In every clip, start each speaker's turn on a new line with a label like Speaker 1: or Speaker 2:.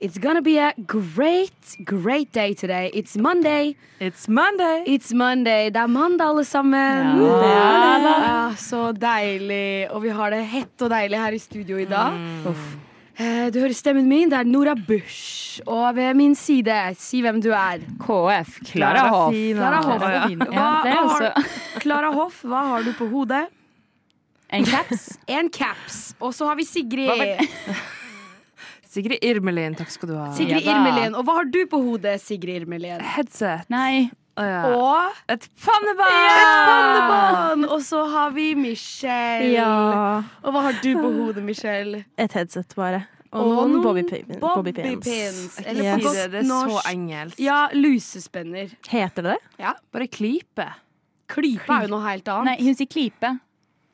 Speaker 1: It's gonna be a great, great day today. It's Monday.
Speaker 2: It's Monday.
Speaker 1: It's Monday. Det er mandag, alle sammen.
Speaker 2: Ja, det er det.
Speaker 1: Ja, så deilig. Og vi har det hett og deilig her i studio i dag. Eh, Du hører stemmen min. Det er Nora Bush. Og ved min side, si hvem du er.
Speaker 3: KF. Klara Hoff.
Speaker 1: Klara Hoff.
Speaker 2: Ja, ja.
Speaker 3: Ja, det er
Speaker 1: Hva
Speaker 3: også
Speaker 1: har, Clara Hoff, hva har du på hodet?
Speaker 3: en caps.
Speaker 1: En caps. Og så har vi
Speaker 3: Hva
Speaker 1: Sigrid.
Speaker 3: var-
Speaker 2: Sigrid Irmelin, takk skal du ha.
Speaker 1: Sigrid
Speaker 3: Ja da.
Speaker 1: Irmelin. Og hva har du på hodet, Sigrid Irmelin?
Speaker 2: Headset.
Speaker 3: Nei.
Speaker 2: Å, ja.
Speaker 1: Og
Speaker 2: Et pannebånd!
Speaker 4: Ah.
Speaker 1: pannebånd! Og så har vi Michelle.
Speaker 4: Ja.
Speaker 1: Og hva har du på hodet, Michelle?
Speaker 4: Et headset, bare. Og, noen bobbypins.
Speaker 1: bobbypins. Eller
Speaker 2: Yes.
Speaker 1: på
Speaker 4: Yes.
Speaker 1: godt
Speaker 2: Det er så
Speaker 1: norsk
Speaker 2: engelsk.
Speaker 1: Ja, lusespenner.
Speaker 4: Heter det det?
Speaker 2: Bare klype.
Speaker 1: Klype er jo noe helt annet.
Speaker 3: Nei, hun sier klype.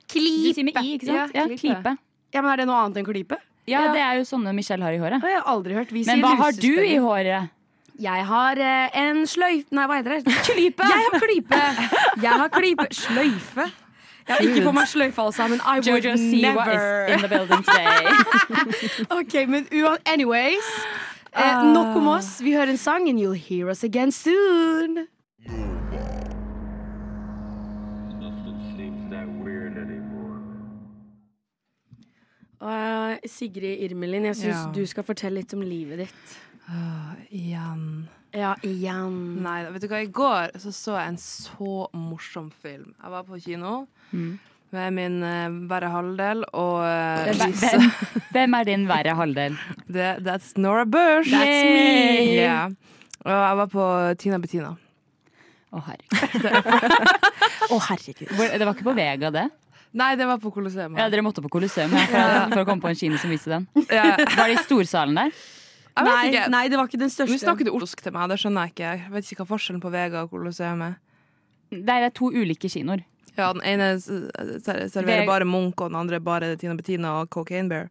Speaker 3: Du sier med i, ikke sant?
Speaker 1: Ja,
Speaker 3: Ja, klype.
Speaker 1: Ja, men Er det noe annet enn klype?
Speaker 3: Ja, det er jo sånne Michelle har i
Speaker 1: Det
Speaker 3: håret.
Speaker 1: har jeg aldri hørt. Vi
Speaker 3: Men
Speaker 1: sier
Speaker 3: hva har du i
Speaker 1: lusespenner.
Speaker 3: håret?
Speaker 1: Jeg har eh, en sløyf... Nei, hva heter det? Klype! Jeg har klype! Jeg har klype. Sløyfe. Jeg har ikke på meg sløyfe, altså, men I would
Speaker 3: Jojo Siwa
Speaker 1: never.
Speaker 3: is in the building today.
Speaker 1: Ok, men ua- anyways eh, Nok om oss, vi hører en sang And you'll hear us again soon Eh, Sigrid Irmelin, jeg synes
Speaker 2: Ja.
Speaker 1: du skal fortelle litt om livet ditt
Speaker 2: Igjen.
Speaker 1: Ja, igjen
Speaker 2: Nei, vet du hva, i går så, så jeg en så morsom film. Jeg var på kino
Speaker 3: Mm.
Speaker 2: med min eh, verre halvdel, og eh,
Speaker 3: Hvem,
Speaker 2: vi så-
Speaker 3: hvem er din verre halvdel?
Speaker 2: det, That's Nora Bush!
Speaker 3: That's me.
Speaker 2: Yeah. Og jeg var på Tina Bettina.
Speaker 3: Å, herregud.
Speaker 4: Å, herregud.
Speaker 3: Hvor- Det var ikke på Vega, det?
Speaker 2: Nei, det var på Colosseum.
Speaker 3: Ja, Dere måtte på Colosseum ja, for, for å komme på en kino som viste den.
Speaker 2: Ja.
Speaker 3: Var det i storsalen der?
Speaker 2: Jeg vet
Speaker 1: Nei,
Speaker 2: ikke.
Speaker 1: nei, det var ikke den
Speaker 2: Nå
Speaker 1: største
Speaker 2: snakker du orsk til meg, det skjønner jeg ikke. Jeg vet ikke hva forskjellen på Vega og Colosseum er.
Speaker 3: Nei, det er to ulike kinoer.
Speaker 2: Ja, den ene s- s- serverer
Speaker 3: Veg-
Speaker 2: bare Munch, og den andre bare Tina Bettina og Cocaine Bear.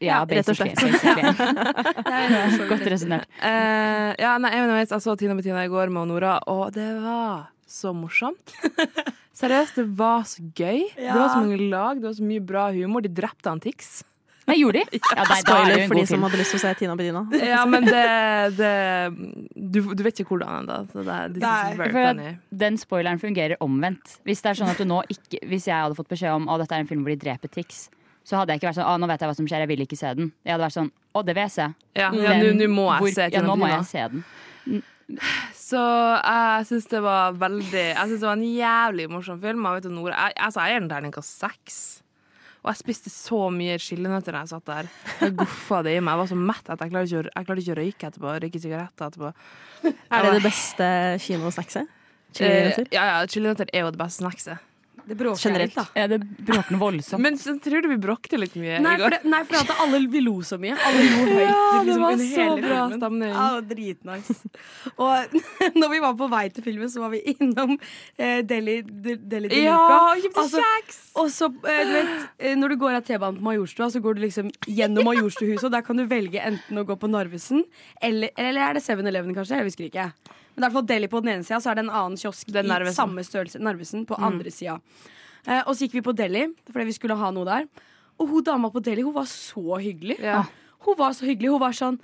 Speaker 3: Ja,
Speaker 4: Ja, rett og
Speaker 3: basically,
Speaker 4: slett.
Speaker 3: basically. Godt
Speaker 1: Godt
Speaker 3: resonnert.
Speaker 2: Eh, ja, nei, anyways, jeg så Tina Bettina i går med Nora, og det var så morsomt. Seriøst, det var så gøy. Det var så mange lag, det var så mye bra humor. De drepte han Tix.
Speaker 3: Nei, gjorde de? Ja, nei, da er det
Speaker 4: Spoiler
Speaker 3: jo en
Speaker 4: for de
Speaker 3: god
Speaker 4: som
Speaker 3: film.
Speaker 4: hadde lyst til å se Tina Bedina.
Speaker 2: Ja, men det, det du, du vet ikke hvordan ennå. Så det, this
Speaker 1: Nei.
Speaker 2: is very
Speaker 3: For at-
Speaker 2: funny.
Speaker 3: Den spoileren fungerer omvendt. Hvis det er sånn at du nå ikke Hvis jeg hadde fått beskjed om at dette er en film hvor de dreper Tix, så hadde jeg ikke vært sånn Å, nå vet jeg hva som skjer, jeg vil ikke se den. Jeg hadde vært sånn Å, det vil jeg se.
Speaker 2: Ja, ja, nå
Speaker 3: Den-
Speaker 2: nå må
Speaker 3: hvor-
Speaker 2: jeg se
Speaker 3: ja,
Speaker 2: Tina
Speaker 3: nå må
Speaker 2: Bettina.
Speaker 3: jeg se den.
Speaker 2: Så eh, jeg syns det var veldig Jeg synes det var en jævlig morsom film. Jeg vet jo, Nora, jeg, altså, jeg gir den terningkast seks. Og jeg spiste så mye chilinøtter da jeg satt der. Jeg goffa det i meg. Jeg var så mett at jeg klarte ikke, å- jeg klarte ikke å røyke etterpå. Røyke sigaretter etterpå.
Speaker 4: Er det det beste kinosnackset?
Speaker 2: Eh,
Speaker 4: Chilinøtter?
Speaker 2: ja, ja, chilinøtter er jo det beste snackset.
Speaker 1: Det bråker jeg
Speaker 4: Generelt,
Speaker 1: litt,
Speaker 4: da.
Speaker 1: da
Speaker 3: Ja, det bråker noe voldsomt.
Speaker 2: Men så tror du vi bråkte litt mye
Speaker 1: Nei,
Speaker 2: i
Speaker 1: for,
Speaker 2: går.
Speaker 1: det, nei, for at alle vi lo så mye. Alle lo høyt liksom,
Speaker 2: det var
Speaker 1: under
Speaker 2: så
Speaker 1: hele
Speaker 2: bra
Speaker 1: filmen.
Speaker 2: stemning.
Speaker 1: Ja, det var dritnice. Og når vi var på vei til filmen, så var vi innom eh, Deli, De- Deli de Luca.
Speaker 2: Ja, kjøpte
Speaker 1: Altså,
Speaker 2: kjeks!
Speaker 1: Og så, eh, du vet, eh, når du går av T-banen på Majorstua, så går du liksom gjennom Majorstuhuset, og der kan du velge enten å gå på Narvesen, eller, eller er det 7-Eleven, kanskje? Jeg husker ikke. Men det er i hvert fall Deli på den ene sida, så er det en annen kiosk
Speaker 2: Det er Narvesen. Mm.
Speaker 1: i samme størrelse, Narvesen, på andre sida. Eh, og så gikk vi på Deli, fordi vi skulle ha noe der. Og hun dama på Deli, hun var så hyggelig.
Speaker 2: Ja.
Speaker 1: Hun var så hyggelig. Hun var sånn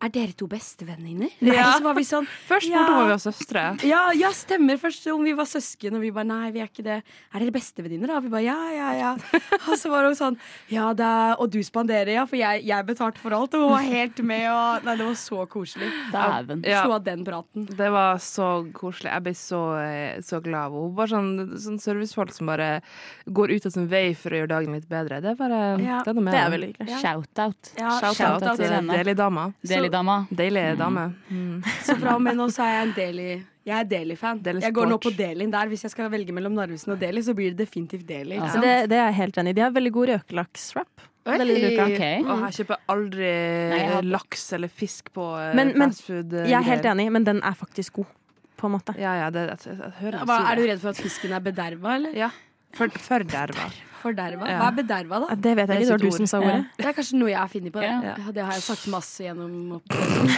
Speaker 1: Er dere to bestevenninner? Ja. Så var vi sånn
Speaker 2: Først spurte hun om vi var søstre.
Speaker 1: ja, ja, stemmer. Først om vi var søsken, og vi bare nei, vi er ikke det. Er dere bestevenninner, da? Og vi bare ja, ja, ja. Og så var hun sånn ja da, og du spanderer, ja, for jeg, jeg betalte for alt. Og hun var helt med, og Nei, det var så koselig.
Speaker 3: Dæven.
Speaker 2: Ja.
Speaker 1: Slo av den praten.
Speaker 2: Det var så koselig. Jeg ble så, eh, så glad av henne. Hun Bare sånn, sånn servicefolk som bare går ut av sin vei for å gjøre dagen litt bedre. Det er bare
Speaker 1: Ja,
Speaker 2: det er noe med
Speaker 4: Det er veldig hyggelig.
Speaker 3: Shout-out.
Speaker 1: Ja,
Speaker 2: Shout-out
Speaker 3: shout-out til
Speaker 2: til
Speaker 3: henne. Mm.
Speaker 2: deilig dame.
Speaker 3: Deilig dame.
Speaker 2: Deilig dame.
Speaker 1: Så fra og med nå så er jeg en Deli. Jeg er Deli-fan.
Speaker 2: Deli
Speaker 1: jeg går nå på
Speaker 2: Sport.
Speaker 1: Delien der. Hvis jeg skal velge mellom Narvesen og Deli, så blir det definitivt Deli.
Speaker 3: Ja.
Speaker 1: Ikke
Speaker 4: Så
Speaker 1: sant?
Speaker 4: Det, det er jeg helt enig i. De har veldig god røkelakswrap. Veldig lurt, da.
Speaker 3: Ok.
Speaker 2: Og jeg kjøper aldri
Speaker 3: Nei, jeg har-
Speaker 2: laks eller fisk på eh,
Speaker 4: Men- men
Speaker 2: fastfood.
Speaker 4: Jeg er helt enig, men den er faktisk god, på en måte.
Speaker 2: Ja, ja, det, jeg, jeg, jeg hører
Speaker 1: Hva, er du
Speaker 2: det.
Speaker 1: redd for at fisken er bederva, eller?
Speaker 2: Ja. For, forderva.
Speaker 1: Forderva?
Speaker 2: Ja.
Speaker 1: Hva er bederva, da?
Speaker 4: Det vet jeg ikke, det var du som sa ordet.
Speaker 1: Det er kanskje noe jeg har funnet på.
Speaker 3: Ja.
Speaker 1: Ja. Det har jeg sagt masse gjennom oppgaven.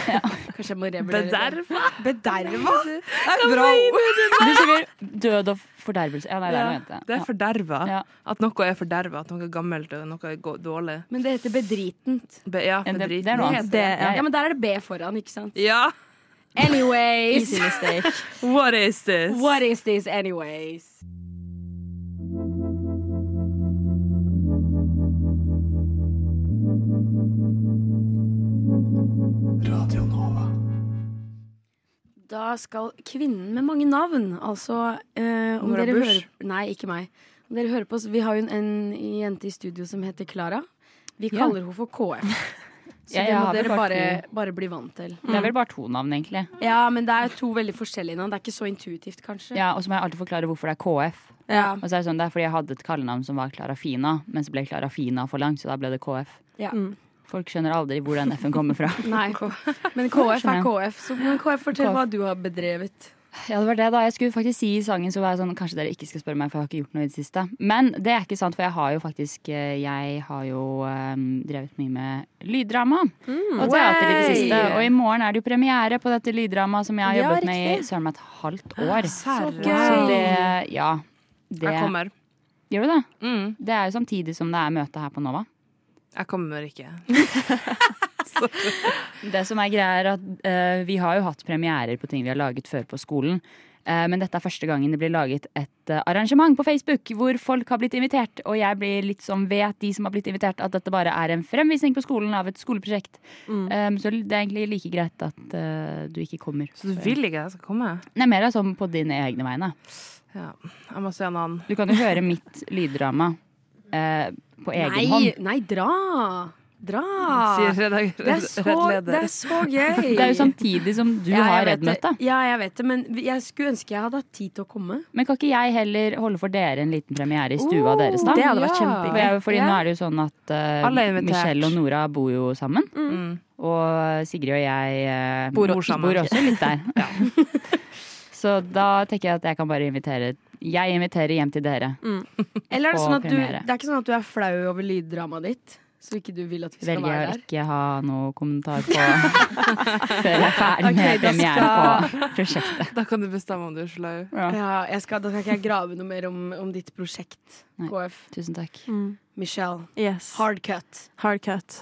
Speaker 1: Kanskje jeg må revurdere det.
Speaker 2: Bederva?
Speaker 1: Bederva? Det er et bra ord.
Speaker 3: Du sier død og fordervelse. Ja, nei, det er noe annet.
Speaker 2: Det er forderva.
Speaker 3: Ja.
Speaker 2: At noe er forderva, at noe er gammelt og noe er gå- dårlig.
Speaker 1: Men det heter bedritent.
Speaker 2: Be, ja,
Speaker 3: Ja, det,
Speaker 2: bedrit.
Speaker 3: det er noe annet.
Speaker 4: Det, ja.
Speaker 1: Ja, men der er det B foran, ikke sant?
Speaker 2: Ja!
Speaker 1: Anyways.
Speaker 4: mistake.
Speaker 2: What is this?
Speaker 1: What is this anyways? Da skal kvinnen med mange navn, altså eh, om
Speaker 2: Nora
Speaker 1: dere
Speaker 2: Bush?
Speaker 1: hører Nei, ikke meg. Om dere hører på oss, Vi har jo en, en jente i studio som heter Klara. Vi
Speaker 3: Ja.
Speaker 1: kaller henne for KF. Så
Speaker 3: Ja, jeg
Speaker 1: det må
Speaker 3: har vel
Speaker 1: dere
Speaker 3: bare
Speaker 1: bare,
Speaker 3: to.
Speaker 1: bare bli vant til.
Speaker 3: Det er vel bare to navn, egentlig.
Speaker 1: Ja, men det er to veldig forskjellige navn. Det er ikke så intuitivt, kanskje.
Speaker 3: Ja, Og så må jeg alltid forklare hvorfor det er KF. Og så er Det sånn, det er fordi jeg hadde et kallenavn som var Klarafina, men så ble Klarafina for langt, så da ble det KF.
Speaker 1: Ja.
Speaker 3: Folk skjønner aldri hvor den F-en kommer fra.
Speaker 1: Nei, men KF er
Speaker 3: Skjønner jeg.
Speaker 1: KF. Så men KF, fortell
Speaker 3: KF.
Speaker 1: hva du har bedrevet.
Speaker 3: Ja, det var det da. Jeg skulle faktisk si i sangen, så var jeg sånn Kanskje dere ikke skal spørre meg, for jeg har ikke gjort noe i det siste. Men det er ikke sant, for jeg har jo faktisk eh, Jeg har jo eh, drevet mye med lyddrama. og teater i det
Speaker 1: Way!
Speaker 3: siste. Og i morgen er det jo premiere på dette lyddramaet som jeg har
Speaker 1: Ja,
Speaker 3: jobbet med i
Speaker 1: riktig.
Speaker 3: søren meg et halvt år.
Speaker 2: Serre.
Speaker 3: Så det Ja. Det
Speaker 2: Jeg kommer.
Speaker 3: Gjør du det?
Speaker 2: Mm,
Speaker 3: Det er jo samtidig som det er møte her på Nova.
Speaker 2: jeg kommer ikke.
Speaker 3: Det som er greia er at eh, Vi har jo hatt premierer på ting vi har laget før på skolen. Eh, men dette er første gangen det blir laget et eh, arrangement på Facebook hvor folk har blitt invitert. Og jeg blir litt som vet de som har blitt invitert, at dette bare er en fremvisning på skolen av et skoleprosjekt. Eh, så det er egentlig like greit at eh, du ikke kommer.
Speaker 2: Så du vil ikke at jeg skal komme?
Speaker 3: Nei, mer av sånn på dine egne vegne.
Speaker 2: Ja. Jeg må se en annen.
Speaker 3: Du kan jo høre mitt lyddrama eh, på egen
Speaker 1: Nei,
Speaker 3: hånd.
Speaker 1: nei, dra! Dra!
Speaker 2: Sier redag-
Speaker 1: Ah. Det er så,
Speaker 2: redleder.
Speaker 1: det er så gøy!
Speaker 3: Det er jo samtidig som du
Speaker 1: Ja, jeg
Speaker 3: har
Speaker 1: vet det.
Speaker 3: Redd-møte.
Speaker 1: Ja, jeg vet det, men vi- jeg skulle ønske jeg hadde hatt tid til å komme.
Speaker 3: Men kan ikke jeg heller holde for dere en liten premiere i stua deres, da?
Speaker 4: Det hadde vært
Speaker 1: Ja.
Speaker 3: For jeg,
Speaker 4: kjempegøy.
Speaker 3: fordi
Speaker 1: Ja.
Speaker 3: nå er det jo sånn at eh,
Speaker 2: Alle er invitert.
Speaker 3: Michelle og Nora bor jo sammen.
Speaker 2: Mm.
Speaker 3: Og Sigrid og jeg eh,
Speaker 2: Bor o- sammen.
Speaker 3: bor også litt der. Så da tenker jeg at jeg kan bare invitere Jeg inviterer hjem til dere.
Speaker 1: Eller er det
Speaker 3: På
Speaker 1: sånn at du,
Speaker 3: premiere.
Speaker 1: det er ikke sånn at du er flau over lyddramaet ditt? Så ikke du vil at vi skal
Speaker 3: Velger jeg
Speaker 1: være
Speaker 3: å
Speaker 1: der?
Speaker 3: ikke ha noe kommentar på før jeg er ferdig
Speaker 1: Ok,
Speaker 3: med
Speaker 1: da
Speaker 3: premiere
Speaker 1: skal-
Speaker 3: på prosjektet.
Speaker 2: Da kan du bestemme om du er slau.
Speaker 3: Ja.
Speaker 1: Ja, jeg skal, da skal ikke jeg grave noe mer om, om ditt prosjekt,
Speaker 3: Nei.
Speaker 1: KF.
Speaker 3: Tusen takk.
Speaker 1: Michelle.
Speaker 4: Yes.
Speaker 1: Hardcut.
Speaker 4: Hard cut.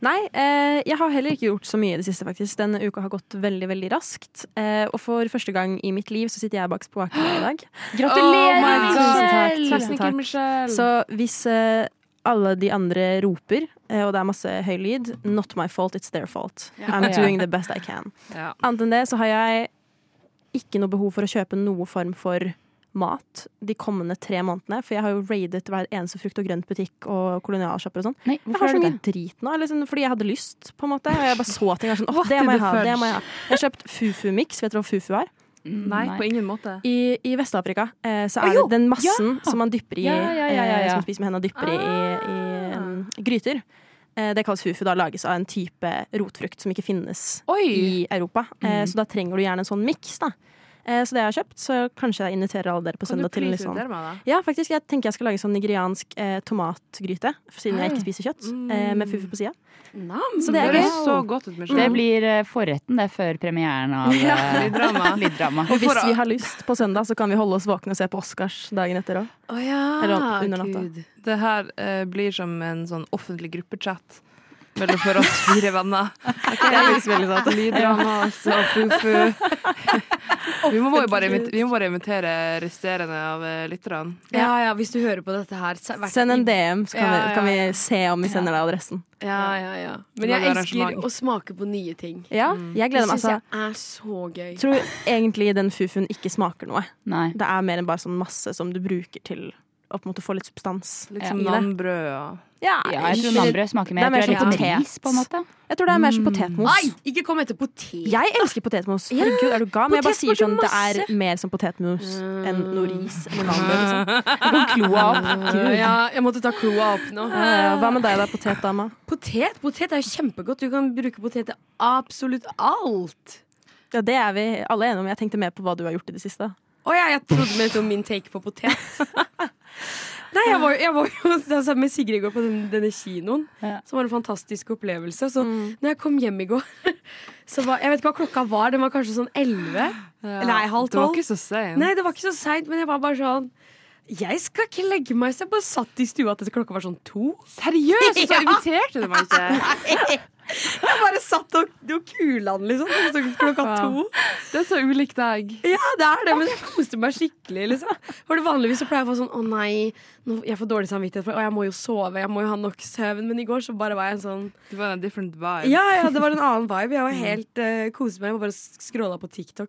Speaker 4: Nei, eh, jeg har heller ikke gjort så mye i det siste, faktisk. Denne uka har gått veldig veldig raskt. Eh, og for første gang i mitt liv så sitter jeg bak spakene i dag.
Speaker 3: Gratulerer,
Speaker 4: Oh my God.
Speaker 3: Michelle!
Speaker 4: Tusen takk. Så hvis eh, alle de andre roper, eh, og det er masse høy lyd, not my fault, it's their fault. I'm
Speaker 3: Ja.
Speaker 4: doing the best I can.
Speaker 2: Ja.
Speaker 4: Annet enn det så har jeg ikke noe behov for å kjøpe noe form for mat de kommende tre månedene. For jeg har jo raidet hver eneste frukt og grønt butikk og kolonialshopper og sånn.
Speaker 3: Nei,
Speaker 4: Jeg har
Speaker 3: hvorfor
Speaker 4: så
Speaker 3: er det
Speaker 4: mye
Speaker 3: det?
Speaker 4: drit nå, eller sånn, fordi jeg hadde lyst, på en måte. Og jeg bare så ting og var sånn, åh, det må jeg ha, det må jeg ha. Jeg har kjøpt Fufu-mix, vet dere hva Fufu er?
Speaker 3: Mm,
Speaker 2: Nei, på ingen måte.
Speaker 4: I, i Vest-Afrika eh, så
Speaker 3: Å,
Speaker 4: er
Speaker 3: jo!
Speaker 4: det den massen som man dypper i,
Speaker 3: Ja, ja, ja, ja, Ah. ja.
Speaker 4: eh, som man spiser med hendene og dypper i, i em, gryter. Eh, det kalles Fufu, da lages av en type rotfrukt som ikke finnes
Speaker 2: Oi!
Speaker 4: i
Speaker 1: Mm.
Speaker 4: Europa. Eh, så da trenger du gjerne en sånn miks, da. Eh, så det jeg har kjøpt, så kanskje jeg inviterer alle dere på
Speaker 2: Kan du
Speaker 4: søndag til en
Speaker 2: please
Speaker 4: litt sånn
Speaker 2: invitere meg, da?
Speaker 4: ja, faktisk. Jeg tenker jeg skal lage sånn nigeriansk eh, tomatgryte, siden jeg ikke spiser kjøtt, eh, med fufu på sida.
Speaker 1: Mm. Nam.
Speaker 4: Så det er
Speaker 2: Det
Speaker 4: gøy.
Speaker 2: høres så godt ut,
Speaker 3: Det
Speaker 2: Michelle.
Speaker 3: blir eh, forretten, det, før premieren av eh,
Speaker 2: Lyddrama.
Speaker 3: lyddrama.
Speaker 4: Og hvis vi har lyst på søndag, så kan vi holde oss våkne og se på Oscars dagen etter òg.
Speaker 1: Å ja,
Speaker 4: Eller under natta.
Speaker 1: Gud.
Speaker 2: Det her eh, blir som en sånn offentlig gruppechat mellom for oss fire venner. Lyddrama altså, fufu. Vi må jo bare, invit- vi må bare invitere resterende av eh, lytterne.
Speaker 1: Ja, ja, hvis du hører på dette her se- vært
Speaker 4: Send en
Speaker 1: i-
Speaker 4: DM, så kan,
Speaker 1: Ja, ja,
Speaker 4: vi, kan vi
Speaker 1: ja.
Speaker 4: se om vi sender deg adressen.
Speaker 1: Ja, ja, ja. Men
Speaker 2: Lage
Speaker 1: jeg elsker
Speaker 2: arrangement.
Speaker 1: å smake på nye ting.
Speaker 4: Ja, jeg
Speaker 1: Mm. Det
Speaker 4: gleder meg.
Speaker 1: syns
Speaker 4: Altså,
Speaker 1: jeg er så gøy.
Speaker 4: jeg tror egentlig den fufuen ikke smaker noe.
Speaker 3: Nei.
Speaker 4: Det er mer enn bare sånn masse som du bruker til å på en måte få litt substans.
Speaker 2: Litt
Speaker 3: Ja.
Speaker 2: som
Speaker 4: I det.
Speaker 2: nambrød og
Speaker 4: Ja,
Speaker 3: Ja, jeg tror Nambrød smaker mer. sånn
Speaker 4: Det er mer
Speaker 3: Jeg tror
Speaker 4: som
Speaker 3: det er litt
Speaker 4: potet.
Speaker 3: ris, på en måte.
Speaker 4: Jeg tror det er mer som potetmos.
Speaker 1: Nei, ikke kom etter potet.
Speaker 4: Jeg elsker potetmos. Herregud, er du gal? Men jeg bare
Speaker 1: Potet
Speaker 4: sier
Speaker 1: smaker
Speaker 4: sånn det er Mm.
Speaker 1: masse.
Speaker 4: mer som potetmos enn noe ris. eller noe annet, Liksom.
Speaker 3: Kloa opp.
Speaker 1: Ja, jeg måtte ta kloa opp nå.
Speaker 4: Eh, Hva med deg da, potetdama?
Speaker 1: Potet potet er jo kjempegodt. Du kan bruke potet til absolutt alt.
Speaker 4: Ja, det er vi alle enige om. Jeg tenkte mer på hva du har gjort i det siste.
Speaker 1: Å ja, jeg trodde med om min take på potet. Nei, jeg var, jeg var jo altså, med Sigrid i går på den, denne kinoen,
Speaker 3: Ja.
Speaker 1: som var en fantastisk opplevelse. Så
Speaker 4: Mm.
Speaker 1: når jeg kom hjem i går, så var Jeg vet ikke hva klokka var, den var kanskje sånn elleve. Nei, halv
Speaker 2: Det var
Speaker 1: tolv.
Speaker 2: ikke så sein.
Speaker 1: Nei, det var ikke så seint, men jeg var bare sånn Jeg skal ikke legge meg, så jeg bare satt i stua til klokka var sånn to.
Speaker 2: Seriøst, så inviterte du meg ikke!
Speaker 1: Jeg bare satt og, og kula den, liksom. Så klokka to.
Speaker 2: Det er så ulik deg.
Speaker 1: Ja, det er det, men jeg koste meg skikkelig. liksom For det Vanligvis så pleier jeg å få sånn 'Å nei, nå, jeg får dårlig samvittighet for Å, jeg må jo sove, jeg må jo ha nok søvn.' Men i går så bare var jeg en sånn
Speaker 2: Du var en different vibe.
Speaker 1: Ja, ja, det var en annen vibe. Jeg var helt uh, koste meg. Jeg bare scrolla på TikTok.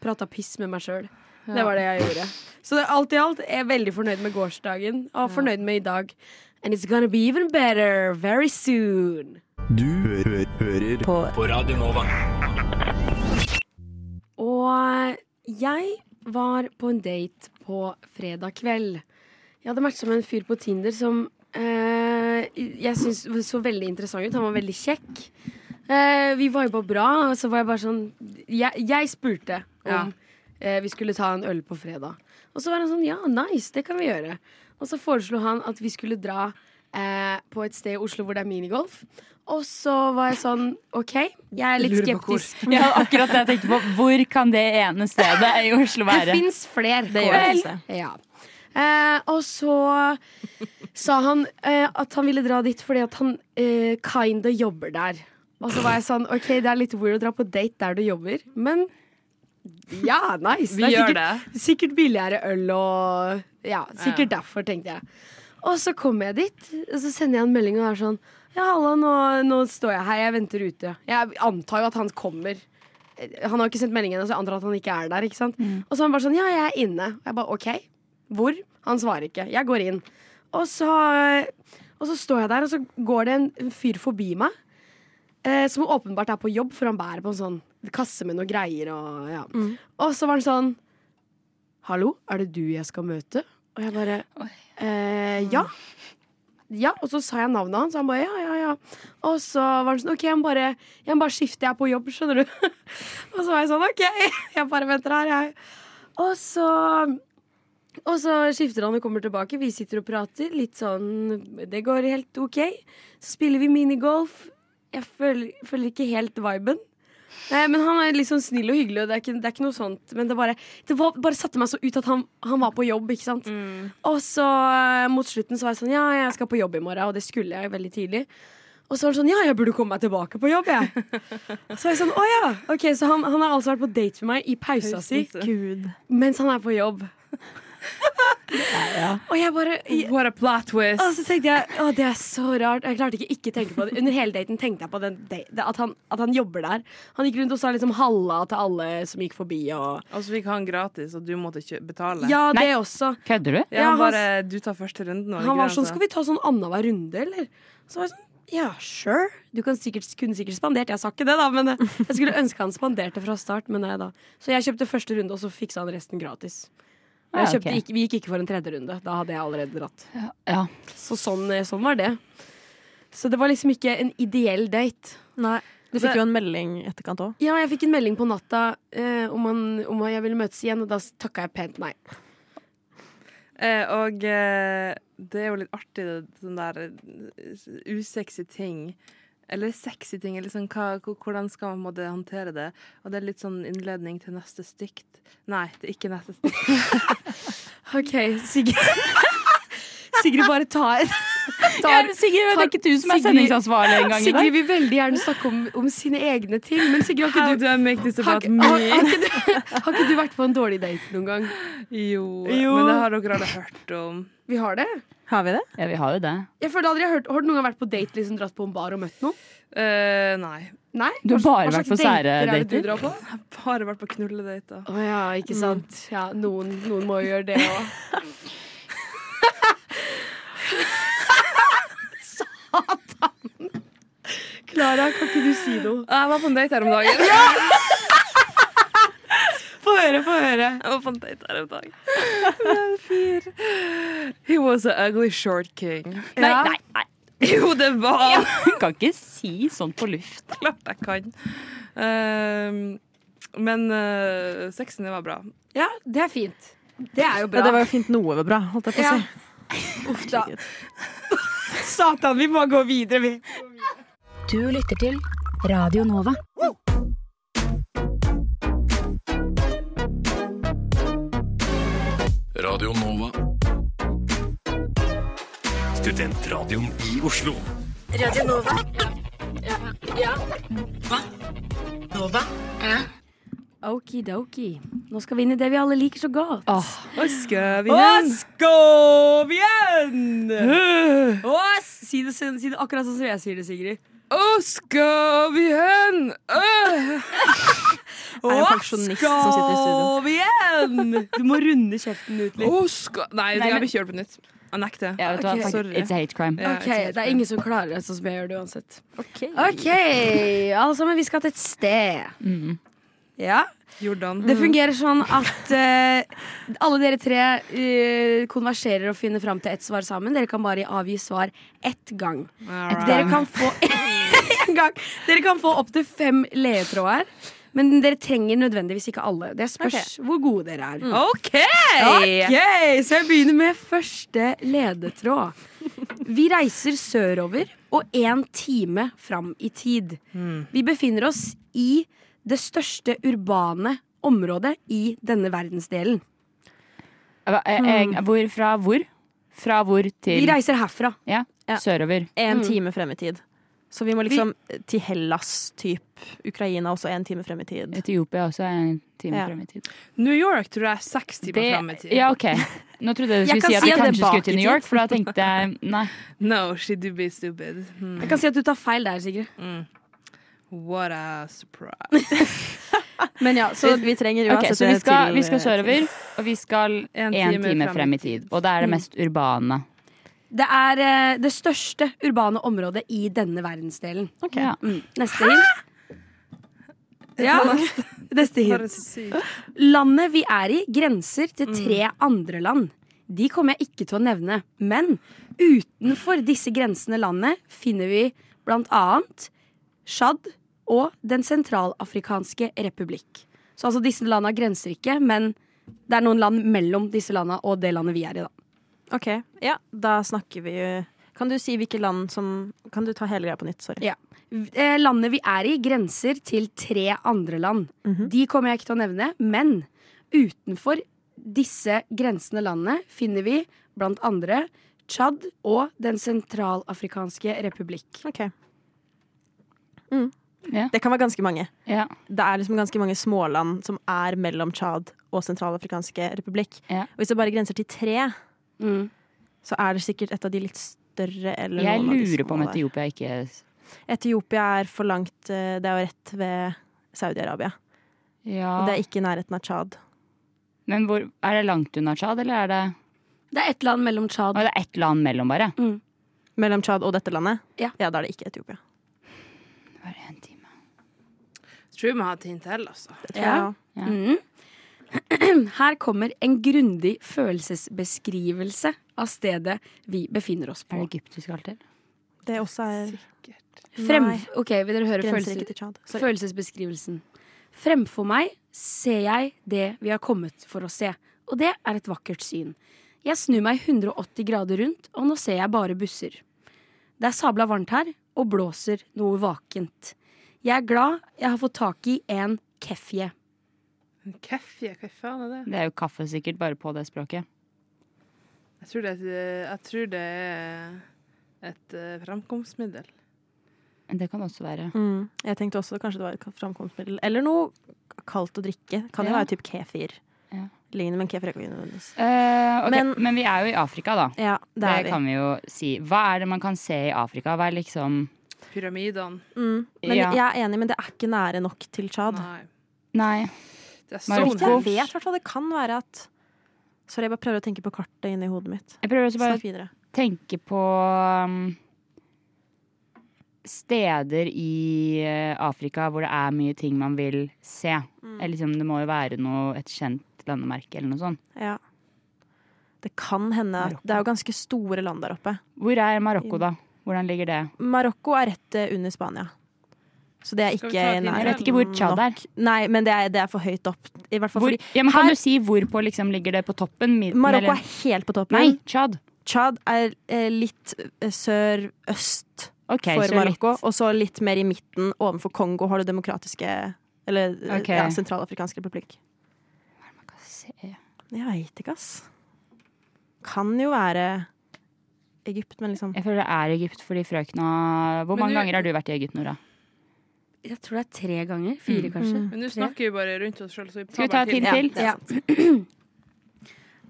Speaker 1: Prata piss med meg sjøl. Det var det jeg gjorde. Så det, alt i alt er jeg veldig fornøyd med gårsdagen og fornøyd med i dag. And it's gonna be even better very soon.
Speaker 5: Du hø hø hører på. Radio Nova.
Speaker 1: Og jeg var på en date på fredag kveld. Jeg hadde matcha med en fyr på Tinder som eh, jeg syns så veldig interessant ut. Han var veldig kjekk. Eh, vi viba bra, og så var jeg bare sånn Jeg, jeg spurte om
Speaker 2: Ja.
Speaker 1: eh, vi skulle ta en øl på fredag. Og så var han sånn ja, nice, det kan vi gjøre. Og så foreslo han at vi skulle dra eh, på et sted i Oslo hvor det er minigolf. Og så var jeg sånn OK, jeg er litt
Speaker 2: Lurer på hvor.
Speaker 1: skeptisk.
Speaker 3: Ja, akkurat det jeg tenkte på. Hvor kan det ene stedet i Oslo
Speaker 1: Det
Speaker 3: være?
Speaker 1: fins flere.
Speaker 4: Det gjør det ikke.
Speaker 1: Ja. Eh, og så sa han eh, at han ville dra dit fordi at han eh, kinda jobber der. Og så var jeg sånn OK, det er litt weird å dra på date der du jobber, men ja, nice.
Speaker 2: Vi
Speaker 1: er
Speaker 2: gjør
Speaker 1: sikkert,
Speaker 2: det.
Speaker 1: Sikkert billigere øl og Ja, sikkert derfor, tenkte jeg. Og så kommer jeg dit, og så sender jeg en melding og er sånn Ja, halla, nå, nå står jeg her, jeg venter ute. Jeg antar jo at han kommer. Han har ikke sendt melding ennå, så jeg antar at han ikke er der. ikke sant? Og så er han bare sånn Ja, jeg er inne. Og jeg bare OK. Hvor? Han svarer ikke. Jeg går inn. Og så, og så står jeg der, og så går det en fyr forbi meg. Eh, som åpenbart er på jobb, for han bærer på en sånn kasse med noen greier. Og, ja. og så var han sånn Hallo, er det du jeg skal møte? Og jeg bare eh, Ja. Ja, Og så sa jeg navnet hans, og han bare ja, ja, ja. Og så var han sånn OK, jeg må bare, jeg må bare skifte, jeg er på jobb, skjønner du. og så var jeg sånn OK, jeg bare venter her, jeg. Og så og så skifter han og kommer tilbake. Vi sitter og prater. Litt sånn Det går helt OK. Så spiller vi minigolf. Jeg føler, føler ikke helt viben. Eh, men han er litt sånn snill og hyggelig, og det er ikke, det er ikke noe sånt. Men det bare, det var, bare satte meg så ut at han, han var på jobb, ikke sant. Og så eh, mot slutten så var jeg sånn Ja, jeg skal på jobb i morgen, og det skulle jeg veldig tidlig. Og så var han sånn Ja, jeg burde komme meg tilbake på jobb, jeg. så var jeg sånn Å ja. Ok, så han, han har altså vært på date med meg i pausa si
Speaker 4: Gud.
Speaker 1: mens han er på jobb. Og jeg bare
Speaker 2: What a plot twist.
Speaker 1: og så tenkte jeg å, det er så rart. Jeg klarte ikke ikke tenke på det. Under hele daten tenkte jeg på den, da- at, han, at han jobber der. Han gikk rundt og sa liksom halla til alle som gikk forbi. Og,
Speaker 2: Og så fikk han gratis, og du måtte kjø- betale.
Speaker 1: ja,
Speaker 3: Nei.
Speaker 1: det også.
Speaker 3: Kødder du?
Speaker 2: Ja,
Speaker 1: Ja, han-
Speaker 2: bare du tar første runden. var det
Speaker 1: Han
Speaker 2: ikke
Speaker 1: var
Speaker 2: det altså?
Speaker 1: sånn
Speaker 2: sa?
Speaker 1: Skal vi ta sånn annenhver runde, eller? Så var jeg sånn ja, sure. Du kan sikkert, kunne sikkert spandert. Jeg sa ikke det, da, men eh, jeg skulle ønske han spanderte fra start. Men nei da. Så jeg kjøpte første runde, og så fiksa han resten gratis. Og
Speaker 2: Ah,
Speaker 1: Jeg
Speaker 3: Ja,
Speaker 1: kjøpte,
Speaker 3: ok.
Speaker 1: ikke, vi gikk ikke for en tredje runde. Da hadde jeg allerede dratt.
Speaker 3: Ja.
Speaker 1: Så sånn, eh, sånn var det. Så det var liksom ikke en ideell date.
Speaker 4: Nei. Du fikk jo en melding i etterkant òg.
Speaker 1: Ja, jeg fikk en melding på natta eh, om, han, om jeg ville møtes igjen, og da takka jeg pent nei.
Speaker 2: Eh, og eh, det er jo litt artig, det, sånn der eh, usexy ting. Eller sexy ting. Eller sånn, hva, hvor- hvordan skal man på en måte håndtere det? Og det er litt sånn innledning til neste stygt. Nei, det er ikke neste stygt.
Speaker 1: OK, Sigrid. Sigrid, bare ta en.
Speaker 3: Ja, Sigrid, det er ikke du som er sendingsansvarlig engang i dag.
Speaker 1: Sigrid vil veldig gjerne snakke om, om sine egne ting, men Sigrid, har
Speaker 2: How
Speaker 1: ikke du
Speaker 2: do I make this
Speaker 1: har,
Speaker 2: about
Speaker 1: ikke- har,
Speaker 2: me?
Speaker 1: har, ikke du, har ikke du vært på en dårlig date noen gang?
Speaker 2: Jo,
Speaker 1: Jo.
Speaker 2: men det har dere alle hørt om.
Speaker 1: Vi har det.
Speaker 4: Har vi det?
Speaker 3: Ja, vi har jo det.
Speaker 1: Jeg føler aldri jeg har hørt Har du noen gang vært på date, liksom dratt på en bar og møtt noen?
Speaker 2: Eh, nei.
Speaker 1: Nei?
Speaker 3: Du har bare
Speaker 1: Hva slags
Speaker 3: vært på
Speaker 1: dater er det
Speaker 3: særedater.
Speaker 1: du drar på?
Speaker 2: Jeg har bare vært på knulledater.
Speaker 1: Å ja, ikke sant. Ja, noen, noen må jo gjøre det òg. Klara, kan ikke du si noe?
Speaker 2: Jeg var på en date her om dagen.
Speaker 1: Få høre, få høre.
Speaker 2: Jeg var på en date her om dagen. Med en fyr. He was a ugly short king.
Speaker 3: Nei, nei, nei.
Speaker 2: Jo, det var han.
Speaker 3: Du kan ikke si sånt på luft.
Speaker 2: Klart jeg kan. Ehm, men eh, sexen, det var bra.
Speaker 1: Ja, det er fint. Det er jo
Speaker 4: Ja,
Speaker 1: bra.
Speaker 4: det var jo fint noe var bra, holdt jeg på å
Speaker 1: Ja.
Speaker 4: si.
Speaker 1: Uff da. Satan, vi må gå videre, vi.
Speaker 6: Du lytter til Radio Nova.
Speaker 5: Radio Nova.
Speaker 7: Studentradioen i Oslo.
Speaker 1: Okidoki. Nå skal vi inn i det vi alle liker så godt.
Speaker 2: Hva skal vi
Speaker 1: Og skåv igjen! Og s- si, det, si det akkurat sånn som jeg sier det, Sigrid.
Speaker 2: Å, skal vi hen? Øh!
Speaker 4: er en
Speaker 1: Og
Speaker 4: pensjonist som sitter i studio.
Speaker 1: skåv igjen! Du må runde kjeften ut litt.
Speaker 2: Å, skal Nei, jeg blir ikke gjort på nytt. Jeg nekter.
Speaker 3: Ja, vet du hva?
Speaker 1: Ok,
Speaker 3: Fuck,
Speaker 2: sorry.
Speaker 3: It's a hate crime.
Speaker 2: Ja,
Speaker 1: Ok,
Speaker 2: jeg
Speaker 1: Det er ingen som klarer det sånn som jeg gjør det uansett.
Speaker 4: Okay.
Speaker 1: Ok, alle sammen, vi skal til et sted. Mm. Ja,
Speaker 2: Jordan.
Speaker 1: Det fungerer sånn at eh, alle dere tre eh, konverserer og finner fram til ett svar sammen. Dere kan bare avgi svar ett gang.
Speaker 2: Alright.
Speaker 1: Dere kan få en gang. Dere kan få opptil fem ledetråder. Men dere trenger nødvendigvis ikke alle. Det spørs hvor gode dere er.
Speaker 2: OK!
Speaker 1: Ok, Så jeg begynner med første ledetråd. Vi reiser sørover og én time fram i tid. Vi befinner oss i det største urbane området i denne verdensdelen.
Speaker 3: Hva- eh, eh, Hvor fra hvor? Fra hvor
Speaker 1: Vi
Speaker 3: til
Speaker 1: reiser herfra.
Speaker 3: ja,
Speaker 4: Ja.
Speaker 3: sørover.
Speaker 4: En
Speaker 1: Mm.
Speaker 4: time frem i tid. Så vi må liksom til Hellas, typ Ukraina, også en time frem i tid.
Speaker 3: Etiopia også er en time
Speaker 4: Ja.
Speaker 3: frem i tid.
Speaker 2: New York tror jeg er seks timer
Speaker 3: Det-
Speaker 2: fram i tid.
Speaker 3: Ja, OK. Nå trodde jeg du
Speaker 1: Jeg
Speaker 3: skulle
Speaker 1: kan si at det
Speaker 3: si at vi
Speaker 1: er
Speaker 3: kanskje
Speaker 1: bak
Speaker 3: skulle til
Speaker 1: i
Speaker 3: New
Speaker 1: tid.
Speaker 3: York, for da tenkte jeg nei.
Speaker 2: No, she do be stupid. Hmm.
Speaker 1: Jeg kan si at du tar feil der, Sigrid.
Speaker 2: What a surprise.
Speaker 1: Men ja,
Speaker 4: Så
Speaker 1: så
Speaker 4: vi trenger
Speaker 3: Ok,
Speaker 4: uansett
Speaker 3: så vi skal,
Speaker 4: til- eh,
Speaker 3: vi skal sørover, og vi skal
Speaker 2: En
Speaker 3: en
Speaker 2: time
Speaker 3: time,
Speaker 2: frem i
Speaker 3: frem i tid. Og det er det mest urbane.
Speaker 1: det er eh, det største urbane området i denne verdensdelen.
Speaker 3: Ja.
Speaker 1: Mm. Neste hint. Ja, neste hint.
Speaker 2: Bare så sykt.
Speaker 1: Landet vi er i, grenser til tre andre land. De kommer jeg ikke til å nevne. Men utenfor disse grensene landet finner vi blant annet Tsjad og Den sentralafrikanske republikk. Så altså disse landa grenser ikke, men det er noen land mellom disse landa og det landet vi er i, da.
Speaker 4: Ok, ja, da snakker vi jo- Kan du si hvilke land som Kan du ta hele greia på nytt, sorry.
Speaker 1: Ja. Eh, Landet vi er i, grenser til tre andre land.
Speaker 4: Mhm.
Speaker 1: De kommer jeg ikke til å nevne, men utenfor disse grensende landene finner vi blant andre Tsjad og Den sentralafrikanske republikk.
Speaker 4: Ok. Mm.
Speaker 3: Ja.
Speaker 4: Det kan være ganske mange.
Speaker 3: Ja.
Speaker 4: Det er liksom ganske mange småland som er mellom Tsjad og Sentralafrikanske republikk.
Speaker 3: Ja.
Speaker 4: Og hvis det bare grenser til tre,
Speaker 1: Mm.
Speaker 4: så er det sikkert et av de litt større eller
Speaker 3: Jeg
Speaker 4: noen av de
Speaker 3: lurer på om
Speaker 4: små der.
Speaker 3: Etiopia ikke
Speaker 4: Etiopia er for langt eh, Det er jo rett ved Saudi-Arabia. Og det
Speaker 3: Ja.
Speaker 4: er ikke i nærheten av Tsjad.
Speaker 3: Men hvor, er det langt unna Tsjad, eller er det
Speaker 1: Det er ett land mellom
Speaker 3: Å,
Speaker 1: Tsjad
Speaker 3: det er ett land mellom, bare?
Speaker 4: Mellom Tsjad og dette landet?
Speaker 1: Ja.
Speaker 4: da er det ikke Etiopia.
Speaker 3: Bare en time.
Speaker 2: Tror vi må ha et hint til, altså.
Speaker 4: Det tror jeg
Speaker 1: Ja.
Speaker 4: også.
Speaker 1: mm. Her kommer en grundig følelsesbeskrivelse av stedet vi befinner oss
Speaker 3: Er det
Speaker 1: på.
Speaker 3: Egypt vi skal til?
Speaker 4: Det også er
Speaker 1: Frem,
Speaker 4: Nei.
Speaker 1: ok, Vil dere høre
Speaker 4: Grenser ikke
Speaker 1: følelser?
Speaker 4: til Tsjad. Sorry.
Speaker 1: Følelsesbeskrivelsen. Fremfor meg ser jeg det vi har kommet for å se, og det er et vakkert syn. Jeg snur meg 180 grader rundt, og nå ser jeg bare busser. Det er sabla varmt her, og blåser noe vakent. Jeg er glad jeg har fått tak i en kefje.
Speaker 2: Kefje, hva faen er det?
Speaker 3: Det er jo kaffe, sikkert, bare på det språket.
Speaker 2: Jeg tror det, er- eh, jeg tror det er et eh, fremkomstmiddel.
Speaker 3: Men Det kan også være
Speaker 4: Mm. Jeg tenkte også kanskje det var et framkomstmiddel. Eller noe kaldt å drikke. Kan jo
Speaker 3: Ja.
Speaker 4: være typ kefir.
Speaker 3: Ja.
Speaker 4: Lignende, men kefir er ikke nødvendigvis.
Speaker 3: Eh, ok, men,
Speaker 4: Men-
Speaker 3: vi er jo i Afrika, da.
Speaker 4: Ja, det
Speaker 3: Det
Speaker 4: er vi.
Speaker 3: kan vi jo si. Hva er det man kan se i Afrika? Hva er liksom
Speaker 2: Pyramidene.
Speaker 4: Mm. Men
Speaker 3: Ja.
Speaker 4: jeg er enig, men det er ikke nære nok til Tsjad.
Speaker 2: Nei.
Speaker 3: Nei.
Speaker 2: Det er
Speaker 3: Marokko.
Speaker 2: sånn
Speaker 4: Jeg vet i hvert fall det kan være at Sorry, jeg bare prøver å tenke på kartet inni hodet mitt.
Speaker 3: Jeg prøver også bare
Speaker 4: Snakk videre.
Speaker 3: tenke på um, steder i eh, Afrika hvor det er mye ting man vil se.
Speaker 4: Mm.
Speaker 3: Eller liksom, det må jo være noe, et kjent landemerke eller noe sånt.
Speaker 4: Ja. Det kan hende at Det er jo ganske store land der oppe.
Speaker 3: Hvor er Marokko, da? Hvordan ligger det?
Speaker 4: Marokko er rett eh, under Spania. Så det er
Speaker 2: Skal
Speaker 4: ikke
Speaker 2: vi ta et lite
Speaker 3: Jeg vet ikke hvor Tsjad er.
Speaker 4: Nei, men det er, det er for høyt opp. I hvert fall
Speaker 3: Hvor,
Speaker 4: fordi
Speaker 3: ja, men kan
Speaker 4: her-
Speaker 3: du si hvor på liksom ligger det på toppen? Midten,
Speaker 4: Marokko
Speaker 3: eller?
Speaker 4: er helt på toppen.
Speaker 3: Nei, Tsjad.
Speaker 4: Tsjad er eh, litt eh, sør-øst
Speaker 3: Ok,
Speaker 4: for
Speaker 3: så litt.
Speaker 4: Marokko, og så litt mer i midten overfor Kongo har du demokratiske Eller eh,
Speaker 3: Ok.
Speaker 4: ja, Sentralafrikansk republikk.
Speaker 3: Hva se-
Speaker 4: Jeg veit ikke, ass. Kan jo være Egypt, men liksom
Speaker 3: Jeg føler det er Egypt fordi frøkna Hvor
Speaker 2: Men
Speaker 3: mange
Speaker 2: du-
Speaker 3: ganger har du vært i Egypt, Nora?
Speaker 1: Jeg tror det er tre ganger.
Speaker 4: Mm.
Speaker 1: Fire, kanskje.
Speaker 2: Men nå snakker vi bare rundt oss sjøl, så vi
Speaker 3: Skal vi ta et hint
Speaker 4: Ja,
Speaker 3: til?
Speaker 4: det er sant.